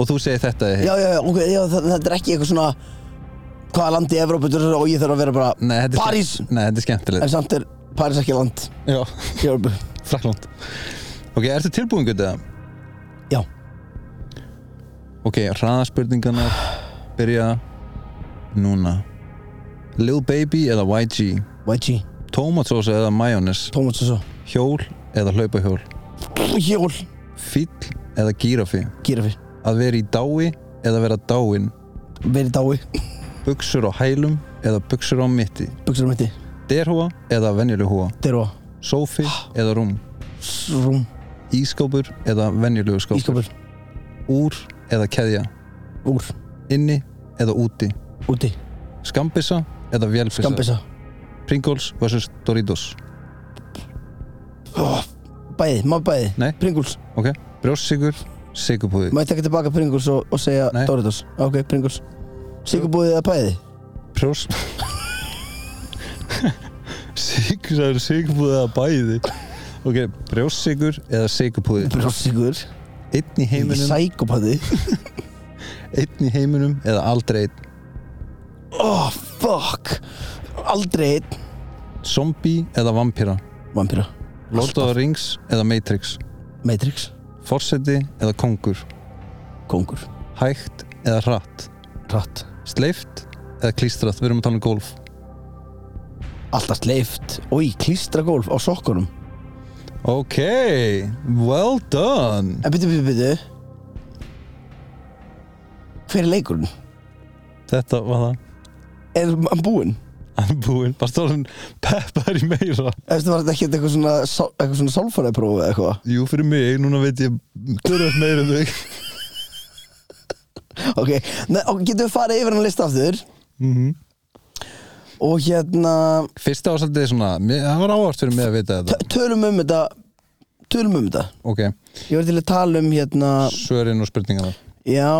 S3: Og þú segir þetta er hitt
S2: já, já, já, ok, já, það, þetta er ekki eitthvað svona Hvaða land í Evrópu þetta er og ég þarf að vera bara
S3: Nei, þetta er
S2: París
S3: skemmt- Nei, þetta
S2: En
S3: er skemmtilegt
S2: samt er París ekki land
S3: Já, (laughs)
S2: í Evrópu
S3: frækland Ok, ertu tilbúin, Gutið?
S2: Já,
S3: Ok, hraðaspurningarnar byrja núna Lil Baby eða YG
S2: YG,
S3: Tómatsósa eða majónis
S2: Tómas og svo
S3: Hjól eða hlaupahjól
S2: Hjól,
S3: Fýll eða gírafi
S2: gírafi,
S3: Að vera í dái eða vera dáin
S2: verið dái
S3: Buxur á hælum eða buxur á mitti
S2: Buxur um hætti,
S3: Derhúa eða venjuleg húa
S2: derfa,
S3: Sófi eða rúm
S2: rúm,
S3: Ískópur eða venjulegu skópur
S2: ískapur,
S3: Úr eða keðja
S2: úr,
S3: Inni eða úti
S2: úti,
S3: Skambissa eða vélfissa
S2: gambisa
S3: Pringles vs Doritos
S2: Bæði, maður bæði,
S3: Nei.
S2: Pringles
S3: Ok, brjóstsigur, sigurpúði
S2: Má ég taka tilbaka Pringles og, og segja
S3: Nei.
S2: Doritos Ok, Pringles Sigurbúðið eða bæði
S3: Brjós Sigur, það eru sigurpúði eða bæði Ok, brjóstsigur eða sigurpúði
S2: Brjóssigur
S3: Einn í heiminum,
S2: Sækopati
S3: einn í heiminum eða aldrei einn
S2: (laughs) Oh, fuck Aldrei einn
S3: Zombie eða vampíra
S2: Vampira
S3: Lord of the Rings eða Matrix
S2: Matrix
S3: Forseti eða kongur
S2: Kongur
S3: Hægt eða hratt
S2: Ratt
S3: Sleift eða klístrað, við erum að tala um golf
S2: Alltaf sleift Új, klístragólf á sokkunum
S3: Ok, well done
S2: En byrju, byrju, byrju Hver er leikurinn?
S3: Þetta var það
S2: Er hann búinn?
S3: Hann er búinn, bara stóðum peppar í
S2: Eftir
S3: meira
S2: var þetta ekki eitthvað svona sál- eitthvað svona sálfæraðprófi eða eitthvað
S3: Jú, fyrir mig, núna veit ég Törðast meira en þau
S2: Ok, Nei, ok, getum við farið yfir hann lista aftur
S3: Mhm.
S2: Og hérna
S3: Fyrsta var svolítið svona, mér- það var áhvert fyrir mig að vita þetta
S2: t- Tölum um þetta Tölum um þetta
S3: Ok,
S2: Ég var til að tala um hérna
S3: svörin og spurningana
S2: Já,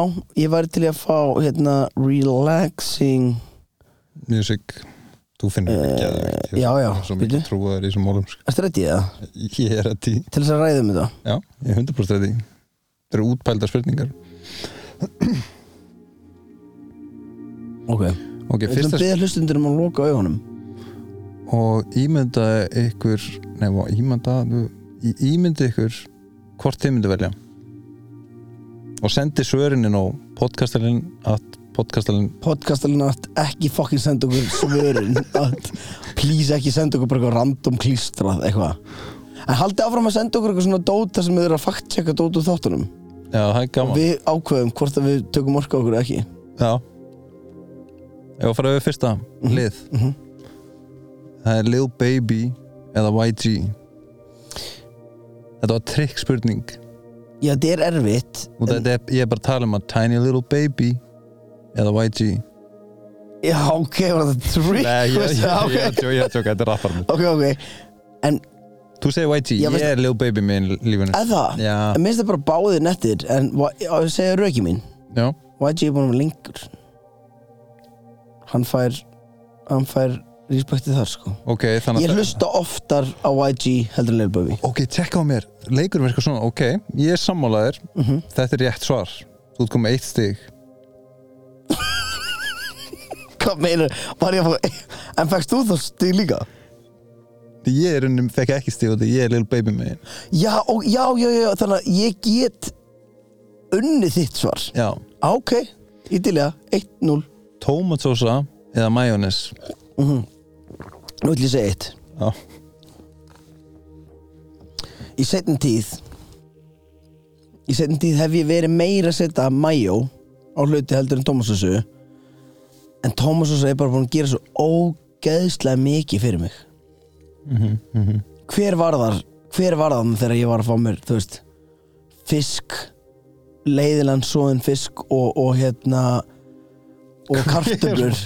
S2: ég var til að fá hérna Relaxing
S3: Music, þú finnir uh, ekki að
S2: já, já,
S3: Svo mikið
S2: bíddu.
S3: trúa þér í þessum málum sko.
S2: Ertu reddið það?
S3: Ég er að því
S2: Til þess að ræða um þetta
S3: Já, ég er 100% að því Þetta eru útpældar spurningar
S2: Ok
S3: Ok,
S2: Við ætlum
S3: fyrsta
S2: að byrja hlustundur um að loka augunum
S3: og ímynda ykkur Nei, vá, ímynda í- Ímynda ykkur hvort þið myndu velja og sendi svörin inn á podcastalinn at podcastalinn
S2: Podcastalinn að ekki fucking senda
S3: (laughs)
S2: okkur svörin að please ekki senda okkur bara eitthvað random klístrað eitthvað En haldið áfram að senda okkur eitthvað svona dóta sem þið eru að fact-checka dót úr þáttunum.
S3: Já, það er gaman
S2: Við ákveðum hvort að við tökum orka okkur eða ekki.
S3: Já Ég var að fara við fyrsta lið Það er Lil Baby eða YG Þetta var trikk spurning
S2: Já, þetta er erfitt.
S3: og þetta er, ég er bara að tala um að Tiny Little Baby eða YG
S2: Já, ok, var þetta trick?
S3: Nei, ég, ég, ég,
S2: Já,
S3: ég,
S2: ok.
S3: ég, ég, ég, ég er að tjóka, þetta er rappar
S2: Ok, ok. En
S3: Þú segir YG,
S2: Já,
S3: ég,
S2: veistu-
S3: er Lil Baby minn í lífinu
S2: eða það,
S3: Já,
S2: en minnst það bara báðið nettir, en wa- já, ég segja rauki mín.
S3: já,
S2: YG er búin að vera lengur. Hann fær, hann fær respektið þar, sko.
S3: ok, þannig
S2: Ég
S3: að-
S2: hlusta oftar á YG heldur en Lil Bubby.
S3: Ok, tjekka á mér, leikurum er eitthvað svona Ok, ég er sammálaður Þetta er rétt svar, þú ert komið eitt stig
S2: Hvað meinar, var ég að fá, (laughs) en fækst þú þá stig líka?
S3: Ég er unnum, fekk ekki stig og þetta ég er Lil Baby minn
S2: Já, og, já, já, já, þannig að ég get unnið þitt svar.
S3: Já,
S2: Á, Ok, ítilega, 1-0.
S3: tómatsósa eða majónis
S2: Nú ætlum ég að segja eitt.
S3: Já,
S2: Í setjum tíð Í setjum tíð hef ég verið meira að setja Majó á hluti heldur en Tómasassu En Tómasassu er bara búin að gera svo ógeðslega mikið fyrir mig Hver var þar? Hver var þarna þegar ég var að fá mér, þú veist Fisk Leiðilegan svoðin fisk og, og hérna Og kartöblur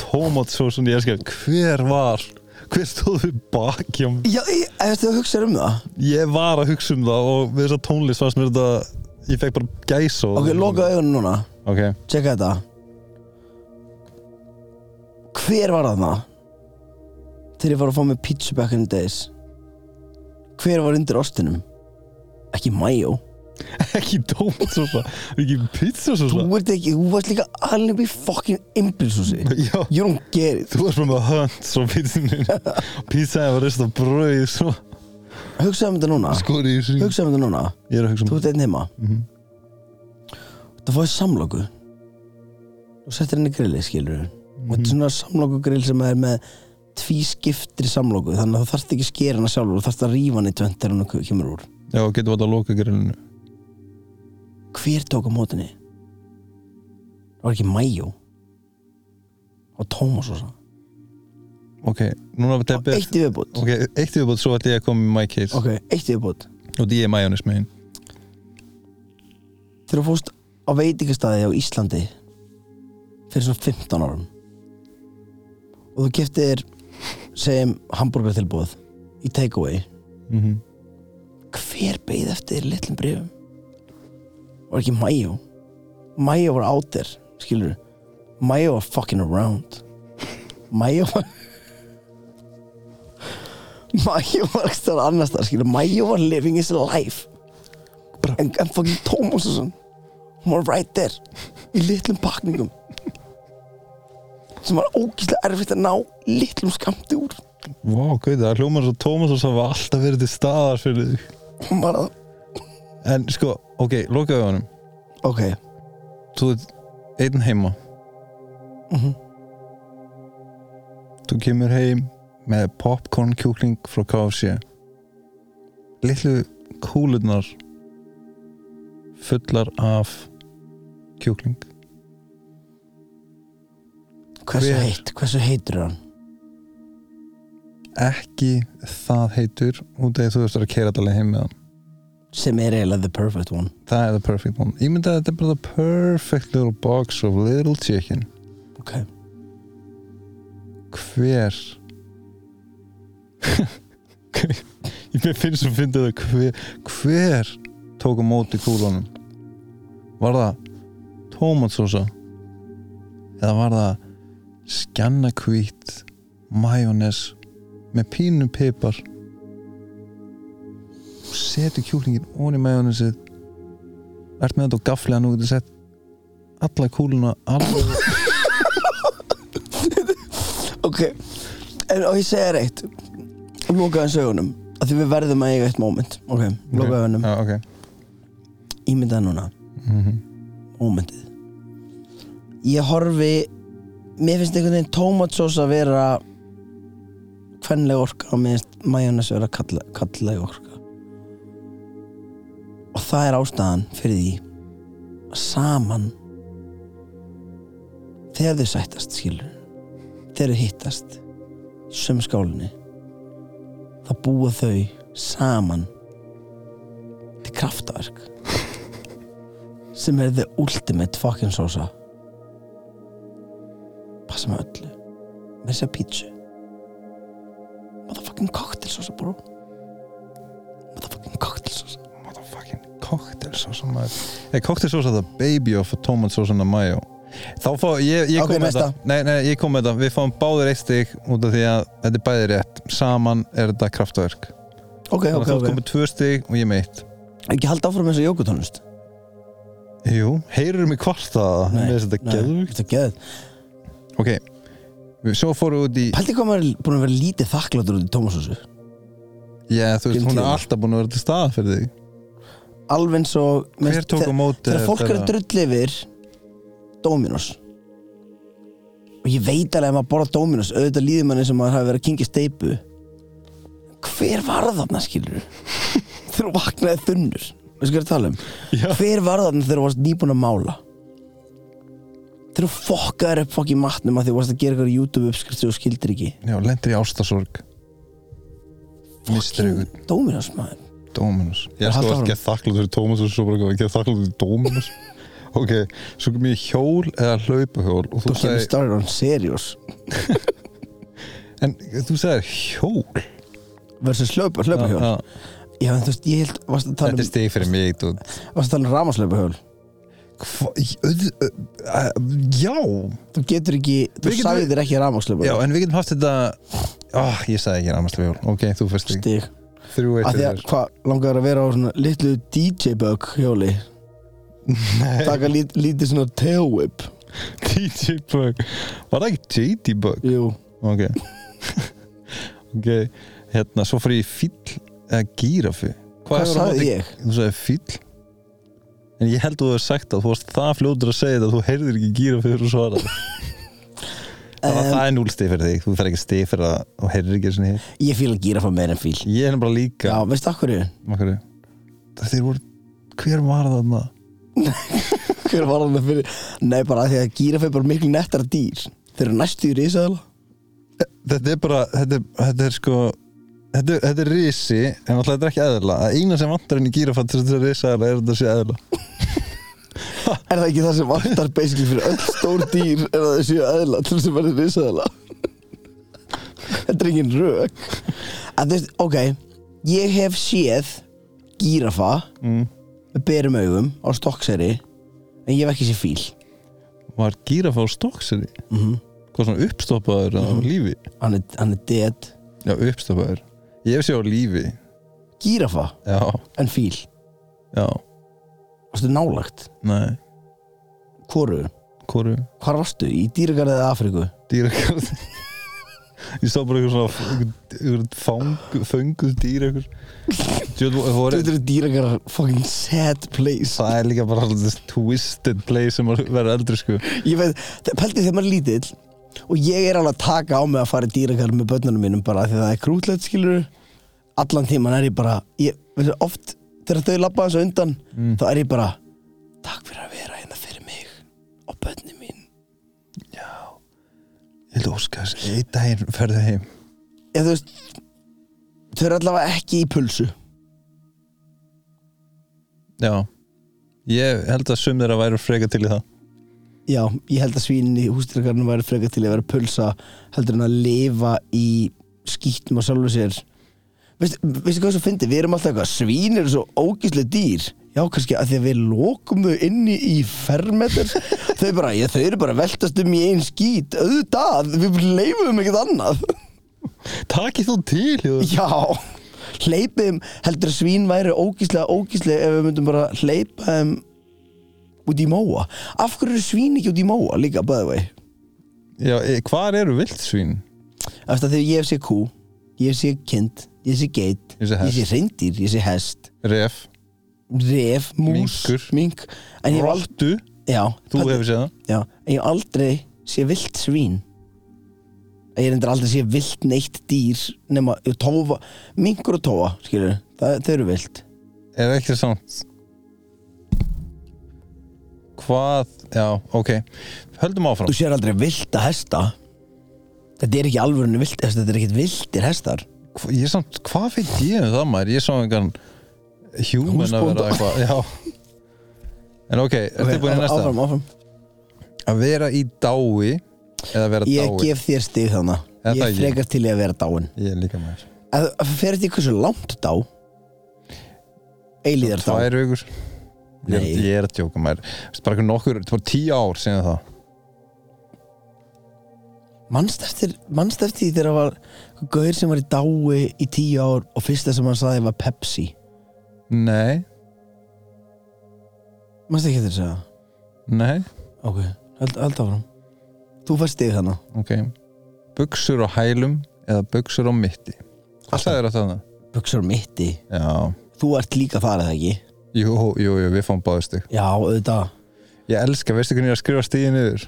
S3: tómatsósan ég elskar Hver var, hver stóð við baki á mér?
S2: Já, ég, ef þú hugsaður um það
S3: Ég var að hugsa um það og við þess að tónlist fannst mér þetta Ég fekk bara gæsa og-
S2: Ok, loka augunum núna
S3: Ok,
S2: Tjekka þetta Hver var þarna? Þegar ég var að fá mig pizza back in the days Hver var undir ostinum? Ekki Mayo
S3: ekki tómatsósa, ekki pizzasósa
S2: Þú ert ekki, þú varst líka alveg í fucking imbilsúsi
S3: Já.
S2: You don't get it
S3: Þú varst bara með hönd svo pizzinu Pizzaði var rist á brauð svo
S2: Hugsaðu um þetta núna
S3: Skori í sig
S2: Hugsaðu um þetta núna
S3: Ég er að hugsa
S2: Þú
S3: um
S2: ert einn heima Þú fáið samlóku Þú settir henni grilli, skilur Og
S3: Mhm.
S2: þetta er svona samlóku grill sem er með tvískiptri samlóku Þannig að þú þarft ekki að skera hana sjálfur Þú þarft að rífa hana í tvönd þegar hún kemur úr
S3: Já, getur við að loka grillinu
S2: Hver tók á mótinni? Það var ekki Majó Og Tómas og svo
S3: Ok, núna var þetta
S2: Eitt í viðbútt
S3: Ok, eitt yfirbútt, svo ætla ég að koma með my case
S2: Ok, eitt í viðbútt
S3: Og því ég er majónis megin
S2: Þegar þú fórst á veitingastæði á Íslandi fyrir svona 15 árum og þú keftir segjum hambúrgar tilbúð í takeaway
S3: Mhm.
S2: hver beigð eftir þér í litlum brifum var ekki Mayo Mayo var out there, skilur Mayo var fucking around Mayo var Mayo var ekki stöðar annars þar, skilur Mayo var living his life en, en fucking Tómasson hún var right there í litlum pakningum sem var ógíslega erfitt að ná litlum skamti úr
S3: Vá, wow, gauði, það hljómar svo Tómas og svo var alltaf verið til staðar fyrir þig
S2: hún var að,
S3: En sko, ok, lokaðu honum
S2: ok,
S3: Þú ert einn heima Þú kemur heim með popcorn kjúkling frá KFC Litlu kúlunar fullar af kjúkling
S2: hversu
S3: Hver?
S2: heitt hversu heitur er hann
S3: ekki það heitur út af því að þú veist að keira allir heim með hann
S2: sem er eiginlega the perfect one
S3: það er the perfect one ég myndi að þetta er bara the perfect little box of little chicken
S2: ok,
S3: (laughs) hver ég finnst að finna það hver, hver tók á móti kúlunum var það tómatsósa eða var það skjannakvít majónes með pínu pipar og setur kjúklingin ón í majónesið ert með þetta og gaflega nú getur sett alla kúluna alveg
S2: ok en og ég segja þér eitt lokaðan sögunum að því við verðum að eiga eitt moment ok, lokaðan
S3: Já, okay.
S2: ímyndað núna ómyndið ég horfi mér finnst einhvern veginn tómatsós að vera kvenlega orka og miðist majónes vera kalla, kallega orka og það er ástæðan fyrir því að saman þegar þau sættast skilur þegar þau hittast í sömu skálinni þá búa þau saman til kraftaverk sem er the ultimate fucking sosa passa með öllu með þess að segja pítsu motherfucking cocktail sosa bro motherfucking cocktail sosa
S3: motherfucking koktelsósa maður er koktelsósa það baby of tomatsósuna mayo þá fá, ég, ég
S2: Ok,
S3: kom með
S2: næsta.
S3: þetta nei, nei, ég kom með þetta, við fáum báðir eitt stig út af því að þetta er bæði rétt saman er þetta kraftverk
S2: ok,
S3: þannig
S2: ok,
S3: að þú
S2: ok
S3: okay. komið tvö stig og ég með eitt
S2: ekki halda áfram með þess að jókutónlist
S3: jú, heyrir mig hvort það með þess að þetta geðvikt
S2: þetta er geðvikt
S3: ok, við- svo fórum við út í
S2: pælti hvað maður er búin að vera lítið þakkláttur út í Tómasósu
S3: já, þú veist, hún er
S2: Fimmtíu.
S3: alltaf búin að vera til stað fyrir þig
S2: alveg eins og
S3: hver tók á móti
S2: þegar fólk er
S3: þeirra?
S2: að drull yfir Dominos og ég veit alveg að maður borða Dominos auðvitað líður manni sem maður hafi verið að kingja steipu hver var þarna skilur (laughs) þegar þú vaknaði þunnur veistu hvað ég er að tala um
S3: Já.
S2: hver var þarna þegar þú varst nýbúin að mála þegar þú fokkaðir upp fokk í matnum að því þú varst að gera eitthvað YouTube uppskrifti og skildir ekki
S3: já, lendir í ástasorg mistur ykkur
S2: Dominos maður
S3: Dominus Ég
S2: halda
S3: sko
S2: áfram.
S3: ekki að þakklátt fyrir Tómas og svo bara ekki að gera þakklátt fyrir
S2: (laughs)
S3: Dominus Ok, svo kom ég í hjól eða hlaupahjól og
S2: þú
S3: þú
S2: kemur
S3: sagði
S2: starrið on serious
S3: En þú sagði hjól
S2: versus hlaupa, hlaupa hjól
S3: Já,
S2: já en þú veist ég held varst að tala
S3: Þetta
S2: um
S3: er stig fyrir mig þú-
S2: varst að tala um ramaslaupa
S3: Hva, í- auð- ö- ö- Já
S2: þú getur ekki, þú
S3: Við getum-
S2: sagði þér ekki ramaslaupa
S3: Já, en við getum haft þetta ah, Ég sagði ekki rámaslega hjól Ok, þú fyrst stig
S2: stig,
S3: Þrjú eitt
S2: af því
S3: fyrir
S2: að
S3: þér. (laughs)
S2: hvað langar að vera á svona litlu DJ bug hjóli taka lít, lítið svona tail whip
S3: DJ Bug Var það ekki JD Bug?
S2: jú,
S3: Ok (laughs) Ok, hérna, svo fyrir ég fíll eða gírafi
S2: hvað
S3: hefur á móti-
S2: sagði ég?
S3: þú sagði fíll en ég held að þú hefur sagt að þú varst það fljótur að segja þetta að þú heyrðir ekki gíra fyrir að svara
S2: (laughs)
S3: það, um,
S2: Em.
S3: það er núl stig fyrir þig þú fer ekki stig fyrir að þú heyrðir ekki svona hér
S2: ég fíla gírafa meir en fíl
S3: ég er bara líka
S2: já, veistu af hverju? (laughs)
S3: Akkur, það þeir voru, hver var það maður?
S2: hver var hann að fyrir? nei, bara af því að gírafa er bara miklu nettara dýr þeir eru næstu í risaðala
S3: þetta er bara þetta, er- þetta er sko Þetta, er- þetta er risi, en alltaf þetta er ekki eðla að eina sem vantar henni gírafatt til þess að risa er að þetta sé eðla
S2: er það ekki það sem vantar basically fyrir öll stór dýr er að þau séu aðla til þess að verði risaðala þetta er engin rök að þú veist, ok ég hef séð gírafa
S3: Mm.
S2: með berum augum á stokkseri en ég hef ekki séð fíl
S3: Var gírafa á stókseri? Mm
S2: Mhm.
S3: Hvað svona uppstoppaður mm á lífi?
S2: hann er, hann er dead
S3: Já, uppstoppaður Ég hef séð á lífi
S2: gírafa
S3: Já,
S2: en fíl
S3: já,
S2: varstu nálagt,
S3: nei,
S2: hvoru
S3: hvoru
S2: hvar varstu, í dýragarðið Afríku
S3: (laughs) Dýragarð Ég sá bara eitthvað svona einhver- einhver fang- Fönguð dýr eitthvað Djöfull, það voru-
S2: þetta eru dýragarðar fucking sad place
S3: Það er líka bara alltaf twisted play sem að vera eldri sko
S2: ég veit, pælti þegar maður er lítill og ég er alveg að taka á mig að fara í dýragarð með börnunum mínum bara af því að það er krútlegt skilur allan tíman er ég bara ég, veistu, oft þegar þau labba þessu undan þá er ég bara takk fyrir að vera hérna fyrir mig og börnum mín
S3: Ég held óska þess Eitt daginn ferðu heim
S2: eða þú veist þau eru allavega ekki í pulsu
S3: Já Ég held að sum þeirra væru freka til í það
S2: já, ég held að svínin í hústýragarðinu væri frekar til að vera að pulsa heldur en að lifa í skýttum og sjálfu sér veistu veistu hvað svo fyndi, við erum alltaf eitthvað svín eru svo ógíslega dýr já, kannski að því að við lokum þau inni í fermetur þau, bara, ég, þau eru bara að veltast um í einn skýt auðvitað, við leifum ekkert annað
S3: Takið þú til Jóður.
S2: já hleypum, heldur að svín væri ógíslega ógíslega ef við myndum bara hleypa um, út í móa af hverju eru svín ekki út í móa líka, by the way
S3: Já, e, hvar eru vildsvín?
S2: Eftir að þegar ég sé kú, ég sé kind, ég sé geit,
S3: Ég sé hest.
S2: ég sé reyndir, ég sé hest,
S3: Ref,
S2: ref, mús,
S3: Minkur.
S2: mink, en ég hef aldrei,
S3: rottu
S2: já,
S3: Þú
S2: þetta-
S3: hefur séð það
S2: já, en ég hef aldrei sé vilt svín. ég reyndir aldrei að sé vilt neitt dýr nema tófa, minkur og tófa skilur, það, þau eru vilt
S3: er ekki samt hvað, já, ok höldum áfram
S2: þú sér aldrei vilt að hesta þetta er ekki alvörinu vilt þetta er ekkit viltir hestar
S3: Hva- ég er samt, hvað veit ég um það maður ég er svona engan human að
S2: Húsbónda.
S3: vera eitthvað já. en ok, ertu okay, búin í
S2: áfram,
S3: næsta
S2: áfram, áfram.
S3: að vera í dái eða vera
S2: ég
S3: dái
S2: gef þér stig þannig
S3: Er
S2: ég
S3: það
S2: er
S3: ekki?
S2: frekar til í að vera dáin
S3: ég er líka maður
S2: að það fer þetta í hversu langt dá eilíðar dá
S3: tvær vikur ég er,
S2: Nei.
S3: ég er að djóka maður Veistu, bara eitthvað nokkur, þetta var tíu ár síðan það
S2: Manst eftir, manst eftir því þegar það var Gauður sem var í dái í tíu ár Og fyrsta sem hann saði var Pepsi
S3: nei,
S2: Manst ekki eftir þess að
S3: nei,
S2: Ok, held, held áfram Þú fæst stig þannig
S3: ok buksur á hælum eða buksur á mitti
S2: Alltaf.
S3: hvað sagðir þetta þannig?
S2: Buxur mitti
S3: já,
S2: Þú ert líka þar eða ekki
S3: jú, jú, jú, við fáum báðist
S2: Já, auðvitað
S3: Ég elska, veistu hvernig ég er að skrifa stíðin yfir?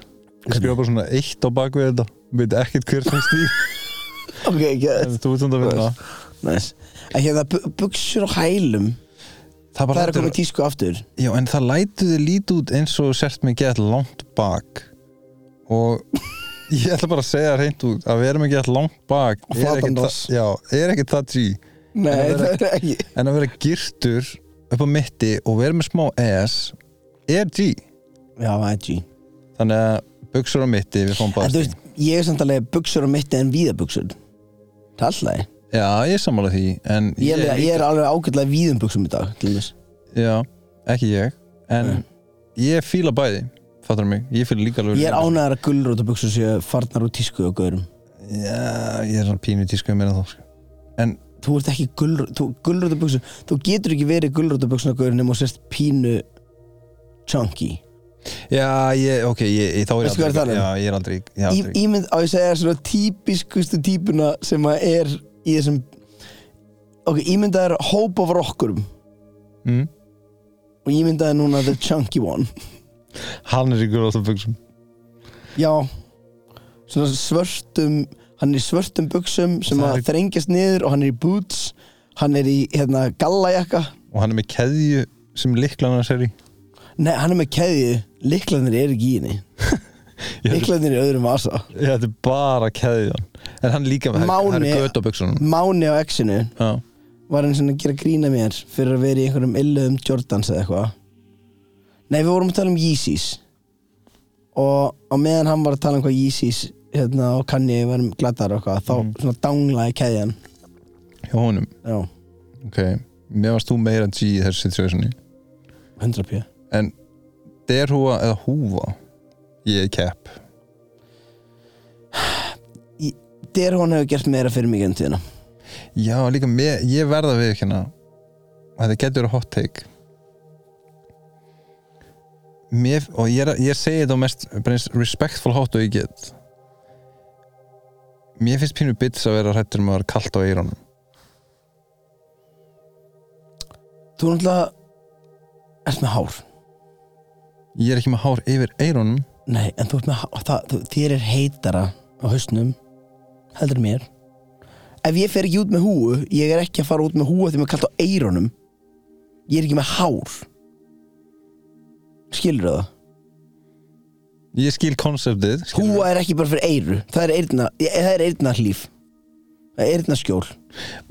S3: Ég skrifa bara svona eitt á bakvið þetta Veit ekkert hver sem
S2: (laughs)
S3: stíð
S2: Ok, ekki
S3: En þú ert hundar að finna það.
S2: Næs En hérna, bu- buxur og hælum
S3: Það
S2: Það
S3: bara
S2: er að koma í
S3: lætur,
S2: tísku aftur
S3: já, en það lætur þið lít út eins og þú sért mig gett langt bak Og (laughs) ég ætla bara að segja það hreint út Að við erum ekki gett langt bak er
S2: Flatan
S3: ekkert það-
S2: rass.
S3: Já, er ekki það tí
S2: Nei,
S3: það er
S2: ekki
S3: En að vera girtur upp á mitti og vera með smá S Er tí
S2: Já, það er G
S3: Þannig að buksur á mitti, við fáum
S2: En
S3: bara
S2: þú veist, ég er samt alveg buxur og mitti en víðabuxur Það er alltaf
S3: Já, ég er sammála því En
S2: Ég, er alveg- ég er alveg ágætlega í víðum buxum í dag til dæmis.
S3: Já, ekki ég En
S2: Mm.
S3: ég fíla bæði Fattar mig, ég fíla líka alveg
S2: Ég er ánæðar að gullrótabuxur séu farnar úr tísku og gaurum
S3: Já, ég er svona pínu tísku meira en þá sko. En
S2: Þú ert ekki gullrótabuxur Þú getur ekki verið gullrótabuxur og gaurum nema og sérst pínu chunky
S3: Já, ég, ok, ég, ég, þá er ég
S2: Veistu hvað ég er að tala um?
S3: Já, ég er aldrei, ég er
S2: Í,
S3: aldrei.
S2: Ímynd á ég að segja svona típiskustu típuna sem að er í þessum Ok, ímyndað er hóp af rockurum
S3: Mm.
S2: og ímyndað er núna the chunky one
S3: Hann er í gróðabuxum
S2: Já Svona svörtum Hann er í svörtum buxum sem
S3: Það
S2: að
S3: er-
S2: þrengjast niður og hann er í boots Hann er í hérna gallajakka
S3: Og hann er með keðju sem liklan hans er í
S2: Nei, hann er með keðju Liklandir eru ekki í henni
S3: (laughs) Ég held-
S2: Liklandir eru í öðrum vasa
S3: Ég þetta er bara keðjan En hann er líka með,
S2: Máni-
S3: hann er götabuxunum
S2: Máni á exinu
S3: Já,
S2: var hann svona að gera grína mér fyrir að vera í einhverjum illum Jordans eða eitthvað Nei, við vorum að tala um Yeezys og á meðan hann var að tala um hvað Yeezys hérna, og Kanye var um glattar og eitthvað þá
S3: Mm.
S2: svona danglaði keðjan
S3: hjá honum
S2: Já,
S3: Ok, mér varst þú meira G í þessu situationi
S2: 100 pjö
S3: En derhúa eða húfa Ég er kepp
S2: Derhón hefur gert meira fyrir mig enn tíðina
S3: Já, líka mér, ég verða við ekki hérna Þetta getur verið hot take mér, Og ég, er, að- ég segi þetta á mest bara eins respectful hot og ég get Mér finnst pínu bits að vera hrættur um að vera kalt á eyrunum
S2: Þú náttúrulega ert með hár
S3: Ég er ekki með hár yfir eyrunum
S2: Nei, en þú ert með hár það, þú, Þér er heitara á hausnum heldur en mér Ef ég fer ekki út með húu ég er ekki að fara út með húu því mér er kallt á eyrunum Ég er ekki með hár Skilur það?
S3: Ég skil konseptið skilurðu.
S2: Húa er ekki bara fyrir eyru Það er eyrna, ég- það er eyrna hlýf Það er eyrna skjól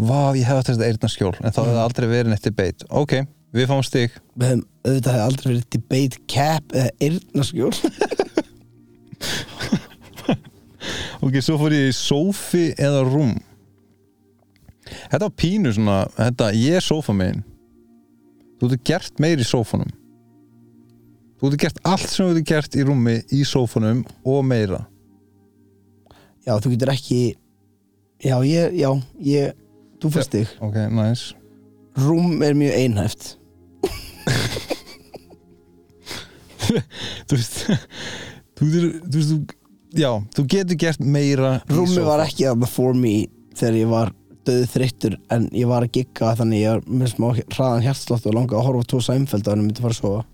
S3: Vá, ég hefði átt þetta eyrna skjól En þá hefði aldrei verið neitt debate Ok, við fáum stig
S2: Við hefum auðvitað hefði aldrei verið debate cap eða eyrna skjól
S3: Ok, svo fór ég í sófi eða rúm Þetta var pínu svona þetta, Ég er sófa megin Þú ert gert meir í sófanum Þú ert gert allt sem þú ert gert í rúmi í sófanum og meira
S2: Já, þú getur ekki Já, ég, já, ég Þú fyrst þig
S3: Ok, nice
S2: Rúm er mjög einhæft
S3: Þú veist (laughs) Þú veist, þú veist þú, Já, þú getur gert meira í
S2: Rúmi
S3: sófa.
S2: var ekki þarna for me Þegar ég var döðu þreyttur En ég var að gigga þannig ég var með smá hraðan hjartslátt Og langa að horfa á tvo sæmfeld Þannig myndi fara að sofa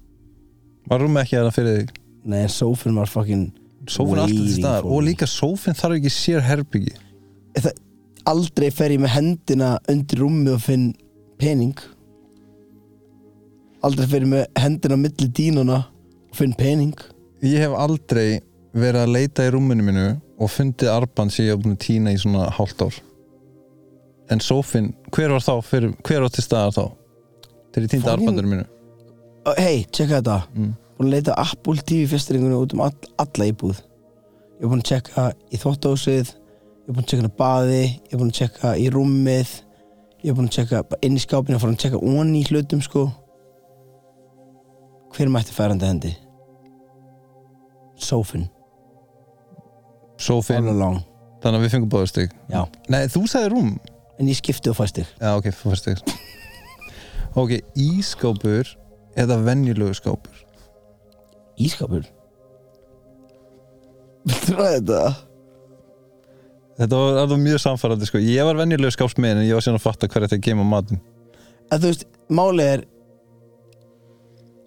S3: Var rúmi ekki þarna fyrir þig
S2: Nei, en sófinn var fucking
S3: sófinn er alltaf til
S2: Waiting
S3: staðar
S2: for
S3: og
S2: me.
S3: líka sófinn þarf ekki sér herbyggi
S2: það, aldrei fer ég með hendina undir rúmi og finn pening aldrei fer ég með hendina á milli dínuna og finn pening
S3: ég hef aldrei verið að leita í rúminu mínu og fundið arband sem ég hef búin að týna í svona hálft ár en sófinn, hver var þá fyrir, hver var til staðar þá þegar ég týndi
S2: Fólin-
S3: arbandur mínu
S2: oh, hei, tjekka þetta mm. búin að leita að Apple TV festringuna út um all, alla íbúð ég er búin að tjekka í þóttásið ég er búin að tjekka inn á baði ég er búin að tjekka í rúmið ég er búin að tjekka bara inn í skápinu og fara að tjekka onni í hlutum sko hver mætti færandi hendi? Sofinn, all
S3: sófinn,
S2: along
S3: þannig að við fengum báður stig
S2: Já.
S3: nei, þú sagði rúm
S2: En ég skipti og fæst þig
S3: Já, ok, þú fyrst þig Ok, ískápur eða venjulegu skápur
S2: Ískapur (laughs) Viltu ræða þetta?
S3: Þetta var alveg mjög samfærandi sko Ég var venjulegu skápsmiðin en ég var síðan að fatta hverja þetta kemur matinn
S2: En þú veist, málið er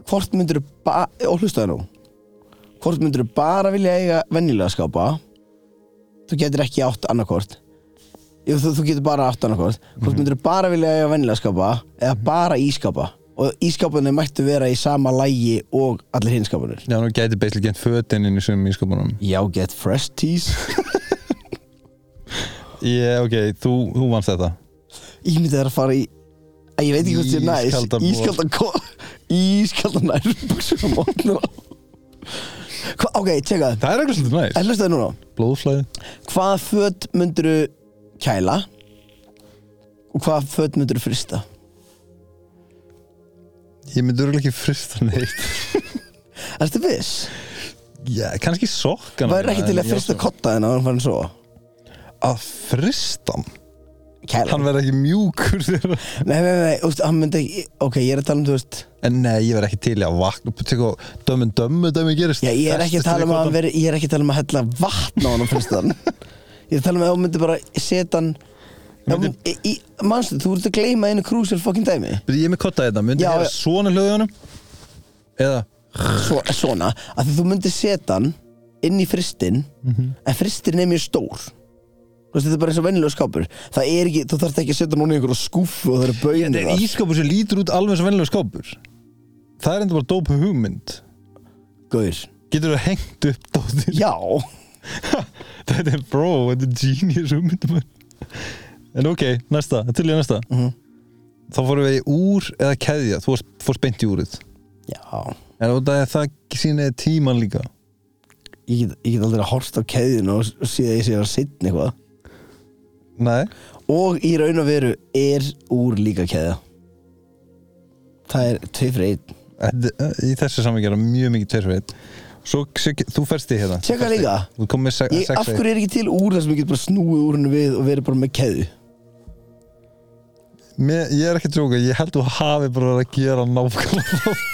S2: Hvort myndirðu bara Og hlustaðu nú Hvort myndirðu bara vilja eiga venjulega skápa Þú getur ekki átt annarkvort Jú, þú, þú getur bara átt annarkvort Hvort myndirðu bara vilja eiga venjulega skápa Eða bara ískapa Og ískapunni mættu vera í sama lægi Og allir hinskapunir
S3: Já, nú gæti beislega gent fötin inn í sumum ískápunum
S2: Já, get fresh teas
S3: Ég, ok, þú, þú vannst þetta
S2: Ímyndið er að fara í að ég veit ekki hvort ég er
S3: Ískaldan
S2: næs
S3: bol.
S2: Ískaldan ko- Ískaldan nærbuxur á mótnu Hva, Ok, tjekka það
S3: Það er eitthvað svolítið næst
S2: En hlustaðu núna
S3: Blóðflæði
S2: Hvaða föt myndirðu kæla og hvaða föt myndirðu frista
S3: Ég myndi örugglega ekki frista neitt
S2: Ertu viss?
S3: Já, kannski sokkana
S2: Væri ekki
S3: mína,
S2: til
S3: en
S2: að
S3: ég
S2: frista
S3: átti-
S2: kotta þinn að hann fann svo
S3: Að frista hann?
S2: Kæla
S3: Hann verði ekki mjúkur þegar-
S2: Nei, nei, nei, úst, hann myndi ekki Ok, ég er að tala um, þú veist
S3: En nei, ég verði ekki til í að vakna Tökum, dömmen, dömmu, dömmu gerist
S2: Já, ég er ekki að
S3: Festist
S2: tala
S3: við
S2: um að hann
S3: koddann.
S2: veri, ég er ekki að tala um að hella vatn á hann og finnst hann Ég er að tala um að þú myndir bara setja hann Já,
S3: myndi-
S2: í, í, Manstu, þú ert að gleyma einu krúsir fucking dæmi
S3: Byrju, ég er með kotta þetta, myndi
S2: Já,
S3: ég heyra
S2: já.
S3: svona hljóði honum? Eða,
S2: Svo, Svona, að því þú myndir setja hann inn í fristin en fristin er mjög stór Þú veist, þetta er bara eins og venjulega skápur Það er ekki, þú þarft ekki að setja hann núna í einhverja skúfu og það eru bauðin
S3: þetta er ískapur sem lítur út alveg sem venlega skápur Það er enda bara dóp hugmynd
S2: Gaur,
S3: Getur þú hengt upp dóttir?
S2: já
S3: þetta er bro, þetta er genius hugmynd maður. En ok, næsta, til ég næsta
S2: Mhm.
S3: Þá fórum við í úr eða keðja Þú varst- fórst beint í úrið
S2: Já,
S3: En út af því að það sýnir tíman líka
S2: ég get, ég get aldrei að horst á keðinu og, og sé að ég sé að setja eitthvað
S3: Nei
S2: og í raun og veru er úr líka keðja það er tvei fyrir einn
S3: þetta- Í þessu samvík er það mjög mikið tverfið Svo, svo, þú ferst í hérna
S2: Tjekka líka.
S3: Þú kom með se-
S2: ég,
S3: sex
S2: af hverju er ekki til úr þar sem ég get bara snúið úr hennu við og verið bara með keðju
S3: Mér, ég er ekki að tjóka, ég held þú hafi bara verið að gera nákvæmlega (laughs) það.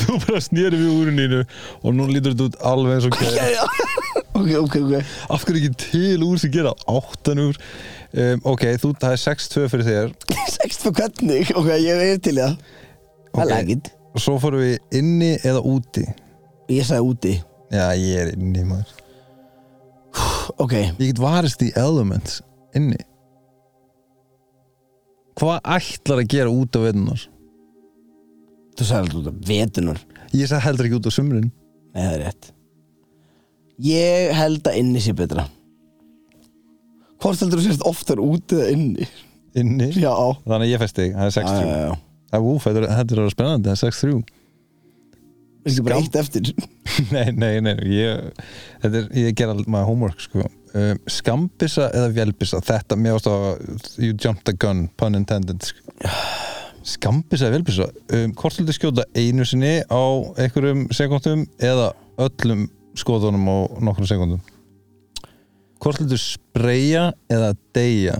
S3: Þú bara snýri við úruninu og nú lítur þetta út alveg eins og
S2: Já,
S3: gæði
S2: já. (laughs) ok, ok, ok
S3: Af hverju ekki til úr sem gera áttan úr um, Ok, þú, það er 6-2 fyrir þér
S2: sext fyrir hvernig, ok, ég er til í það
S3: Ok.
S2: það er ekkit
S3: Og svo fórum við inni eða úti
S2: ég sagði úti,
S3: Já, ég er inni maður
S2: ok
S3: Ég get varist í elements inni Hvað ætlar að gera út á vetunar?
S2: þú sagði alltaf út af vetunar
S3: Ég sagði heldur ekki út á sumrin
S2: nei, það er rétt ég held að inni sé betra hvort heldur þú sérst oftar úti eða inni
S3: Inni?
S2: já,
S3: Þannig að ég festi, það er
S2: já,
S3: 6-3
S2: já, já
S3: Það, úf, þetta er, þetta er að vera spennandi, það er 6-3
S2: Viltu bara
S3: Skam-
S2: eitt eftir
S3: (laughs) Nei, nei, nei, ég, þetta er, ég ger all my homework sko. um, Skambissa eða vélbissa Þetta, mér ást að You jumped the gun, pun intended sko. Skambissa eða vélbissa um, Hvort hluti skjóta einu sinni á einhverjum sekundum eða öllum skoðunum á nokkrum sekundum Hvort hluti spreja eða deyja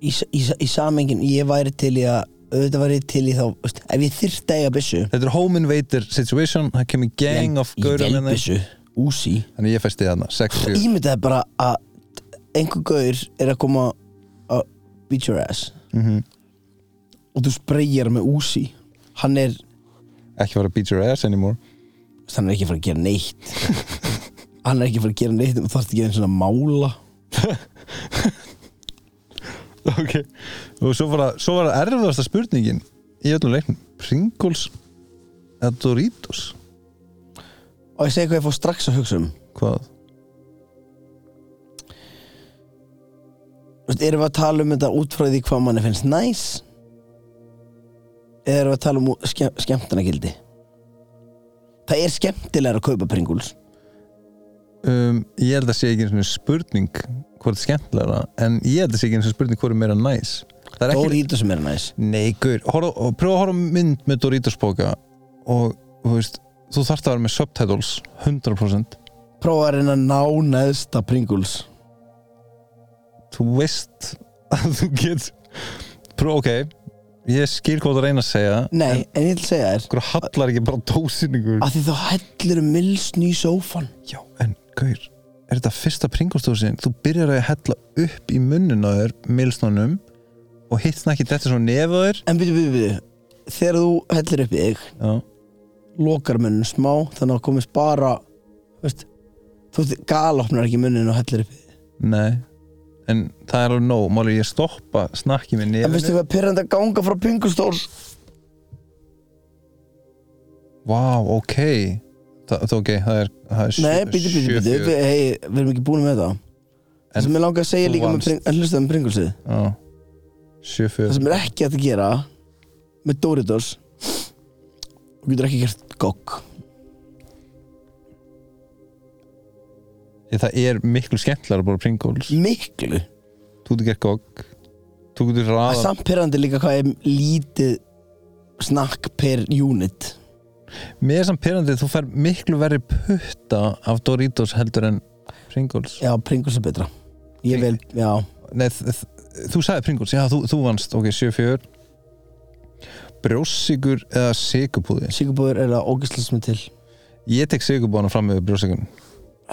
S2: í, í, í samengin, ég væri til í að auðvitað væri ég til í þá, veist, ef ég þyrfti að eiga byssu
S3: Þetta er home invader situation Það kemur gang of
S2: í
S3: gaurum hérna.
S2: velbyssu, úsi
S3: Þannig ég fæsti þarna, 6-7
S2: ímyndaði bara að einhver gaur er að koma að beat your ass og þú spreyjar með úsi hann er,
S3: Ekki fara að beat your ass anymore
S2: hann er ekki að fara að gera neitt hann er ekki að fara að gera neitt og þarfst ekki einu svona mála
S3: ok og svo var, það- svo var það erfiðasta spurningin í öllum leiknum Pringles eða Doritos
S2: og ég segi hvað ég fór strax að hugsa um
S3: hvað?
S2: Vist, erum við að tala um þetta út frá því hvað manni finnst næs eða erum við að tala um ske, skemmtunagildi það er skemmtilega að kaupa Pringles
S3: Um, ég held að sé ekki einu sinni spurning hvort er skemmtilegra en ég held að sé ekki einu sinni spurning hvort er meira næs það er ekki
S2: Doritos sem er næs
S3: Nei, gaur, horf, og pröfa að horfa á mynd með Doritos bóka og þú veist, þú þarft að vera með subtitles 100%
S2: prófa að reyna að ná neðsta Pringles
S3: þú veist að þú get pröfa, ok, ég skil hvað þú ert að reyna að segja
S2: nei, en ég ætla að segja þér
S3: okkur hallar ekki bara dósinningur
S2: að því þá hellir um milsn í sófan
S3: Já, en gaur, er þetta fyrsta pringostósin þú byrjar að hella upp í munnin á þér milsnónum og hitt snakki þetta svona nefa þér
S2: en byrju, byrju, byrju þegar þú hellir upp í þig
S3: Já,
S2: lokar munnum smá þannig að komist bara veist, þú galopnar ekki munnin og hellir upp í þig
S3: nei en það er alveg nóg, máli ég stoppa snakki með
S2: en veistu
S3: nefnum
S2: hvað pyrrandi að ganga frá pingustól
S3: Vá, ok Þa, það, ok, það er, það er sjö-
S2: nei, byrju,
S3: sjö
S2: byrju, byrju,
S3: fjögur.
S2: hei við erum ekki búin með það
S3: En
S2: það sem ég langa að
S3: þú
S2: segja líka
S3: vannst.
S2: með pring, en hlustaðu um pringulsið
S3: Já, sjö
S2: það
S3: fjögur
S2: sem er ekki hægt að gera með Doritos þú getur ekki gert gogg
S3: Ég, Það er miklu skemmtilega bara pringóls
S2: miklu
S3: Þú getur gert gogg Þú getur
S2: Það er
S3: raða
S2: samt pyrrandi líka hvað er lítið snakk per unit
S3: Mér er samt pyrrandi þú fær miklu verri putta af Doritos heldur en pringóls
S2: Já, Pringles er betra Ég vel, já
S3: Nei, þ- þ- þú sagði Pringles, já, þú, þú vannst, ok, 7-4 Brjósigur eða sigurpúði
S2: Sigurbúður er að ógislega sem er til
S3: Ég tek sigurpúðana fram með brjósigun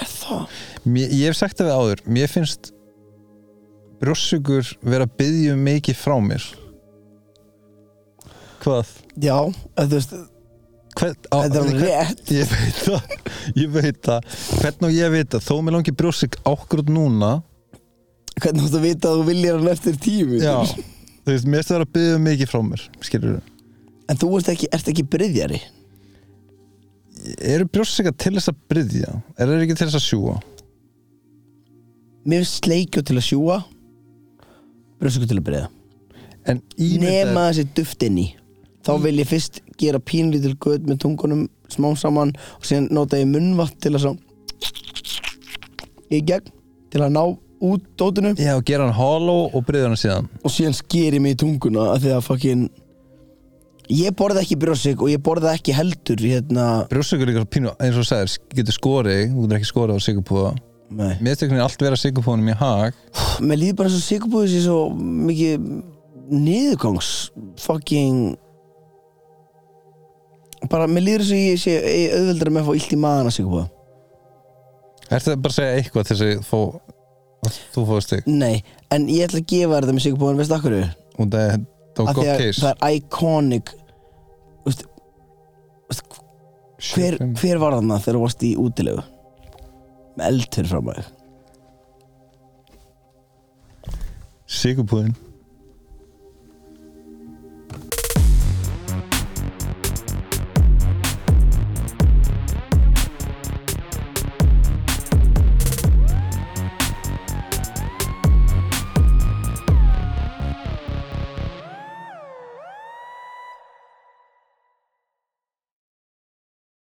S2: Er það?
S3: mér, Ég hef sagt það við áður, mér finnst brjósigur vera að byggja mikið frá mér Hvað?
S2: Já, eða þú veist
S3: Hvern, á,
S2: Þetta er alveg
S3: hvern-
S2: rétt.
S3: Ég veit það, ég veit það Hvernig á ég að vita, þó mér langi brjósig ákvörð núna
S2: Hvernig áttu að vita að þú viljir hann eftir tíu mínútur?
S3: Já, þú veist, mér finnst það vera að byggja mikið frá mér Skilur þú?
S2: En þú ert ekki, ert ekki bryðjari
S3: eru brjóstsykar til þess að bryðja er þeir ekki til þess að sjúa
S2: Mér finnst sleikju til að sjúa Brjósku til að bryðja
S3: en ímyndaður-
S2: Nema þessi duft inn í Þá vil ég fyrst gera pínlítil gutt með tungunum smám saman og síðan nota ég munnvatt til að svo í gegn til að ná út dótinu
S3: já, og gera hann hollow og bryðja hann síðan
S2: og síðan sker ég mig í tunguna af því að fucking ég borða ekki brjósik og ég borða ekki heldur hérna,
S3: brjóstsykar líka pínu, eins og þú sagðir, getur skorið þú getur ekki skorið á sigurpúða
S2: nei
S3: mér steknir allt vera sigurpúðanum í hag
S2: mér líður bara svo sigurbúið sér svo mikið niðurgangs fucking bara mér líður svo ég sé ég auðveldar með að fá illt í maðana sigurbúið
S3: er þetta bara að segja eitthvað til þess að fó, að þú fóðist þig
S2: nei, en ég ætla að gefa þér þetta með sigurbúið veist akkur er
S3: og það er það var
S2: að
S3: gott
S2: að
S3: case
S2: það er iconic veist, veist, hver,
S3: Sjö, fimm.
S2: hver var þarna þegar þú varst í útilegu með eldur fram að þig
S3: sigurpúðin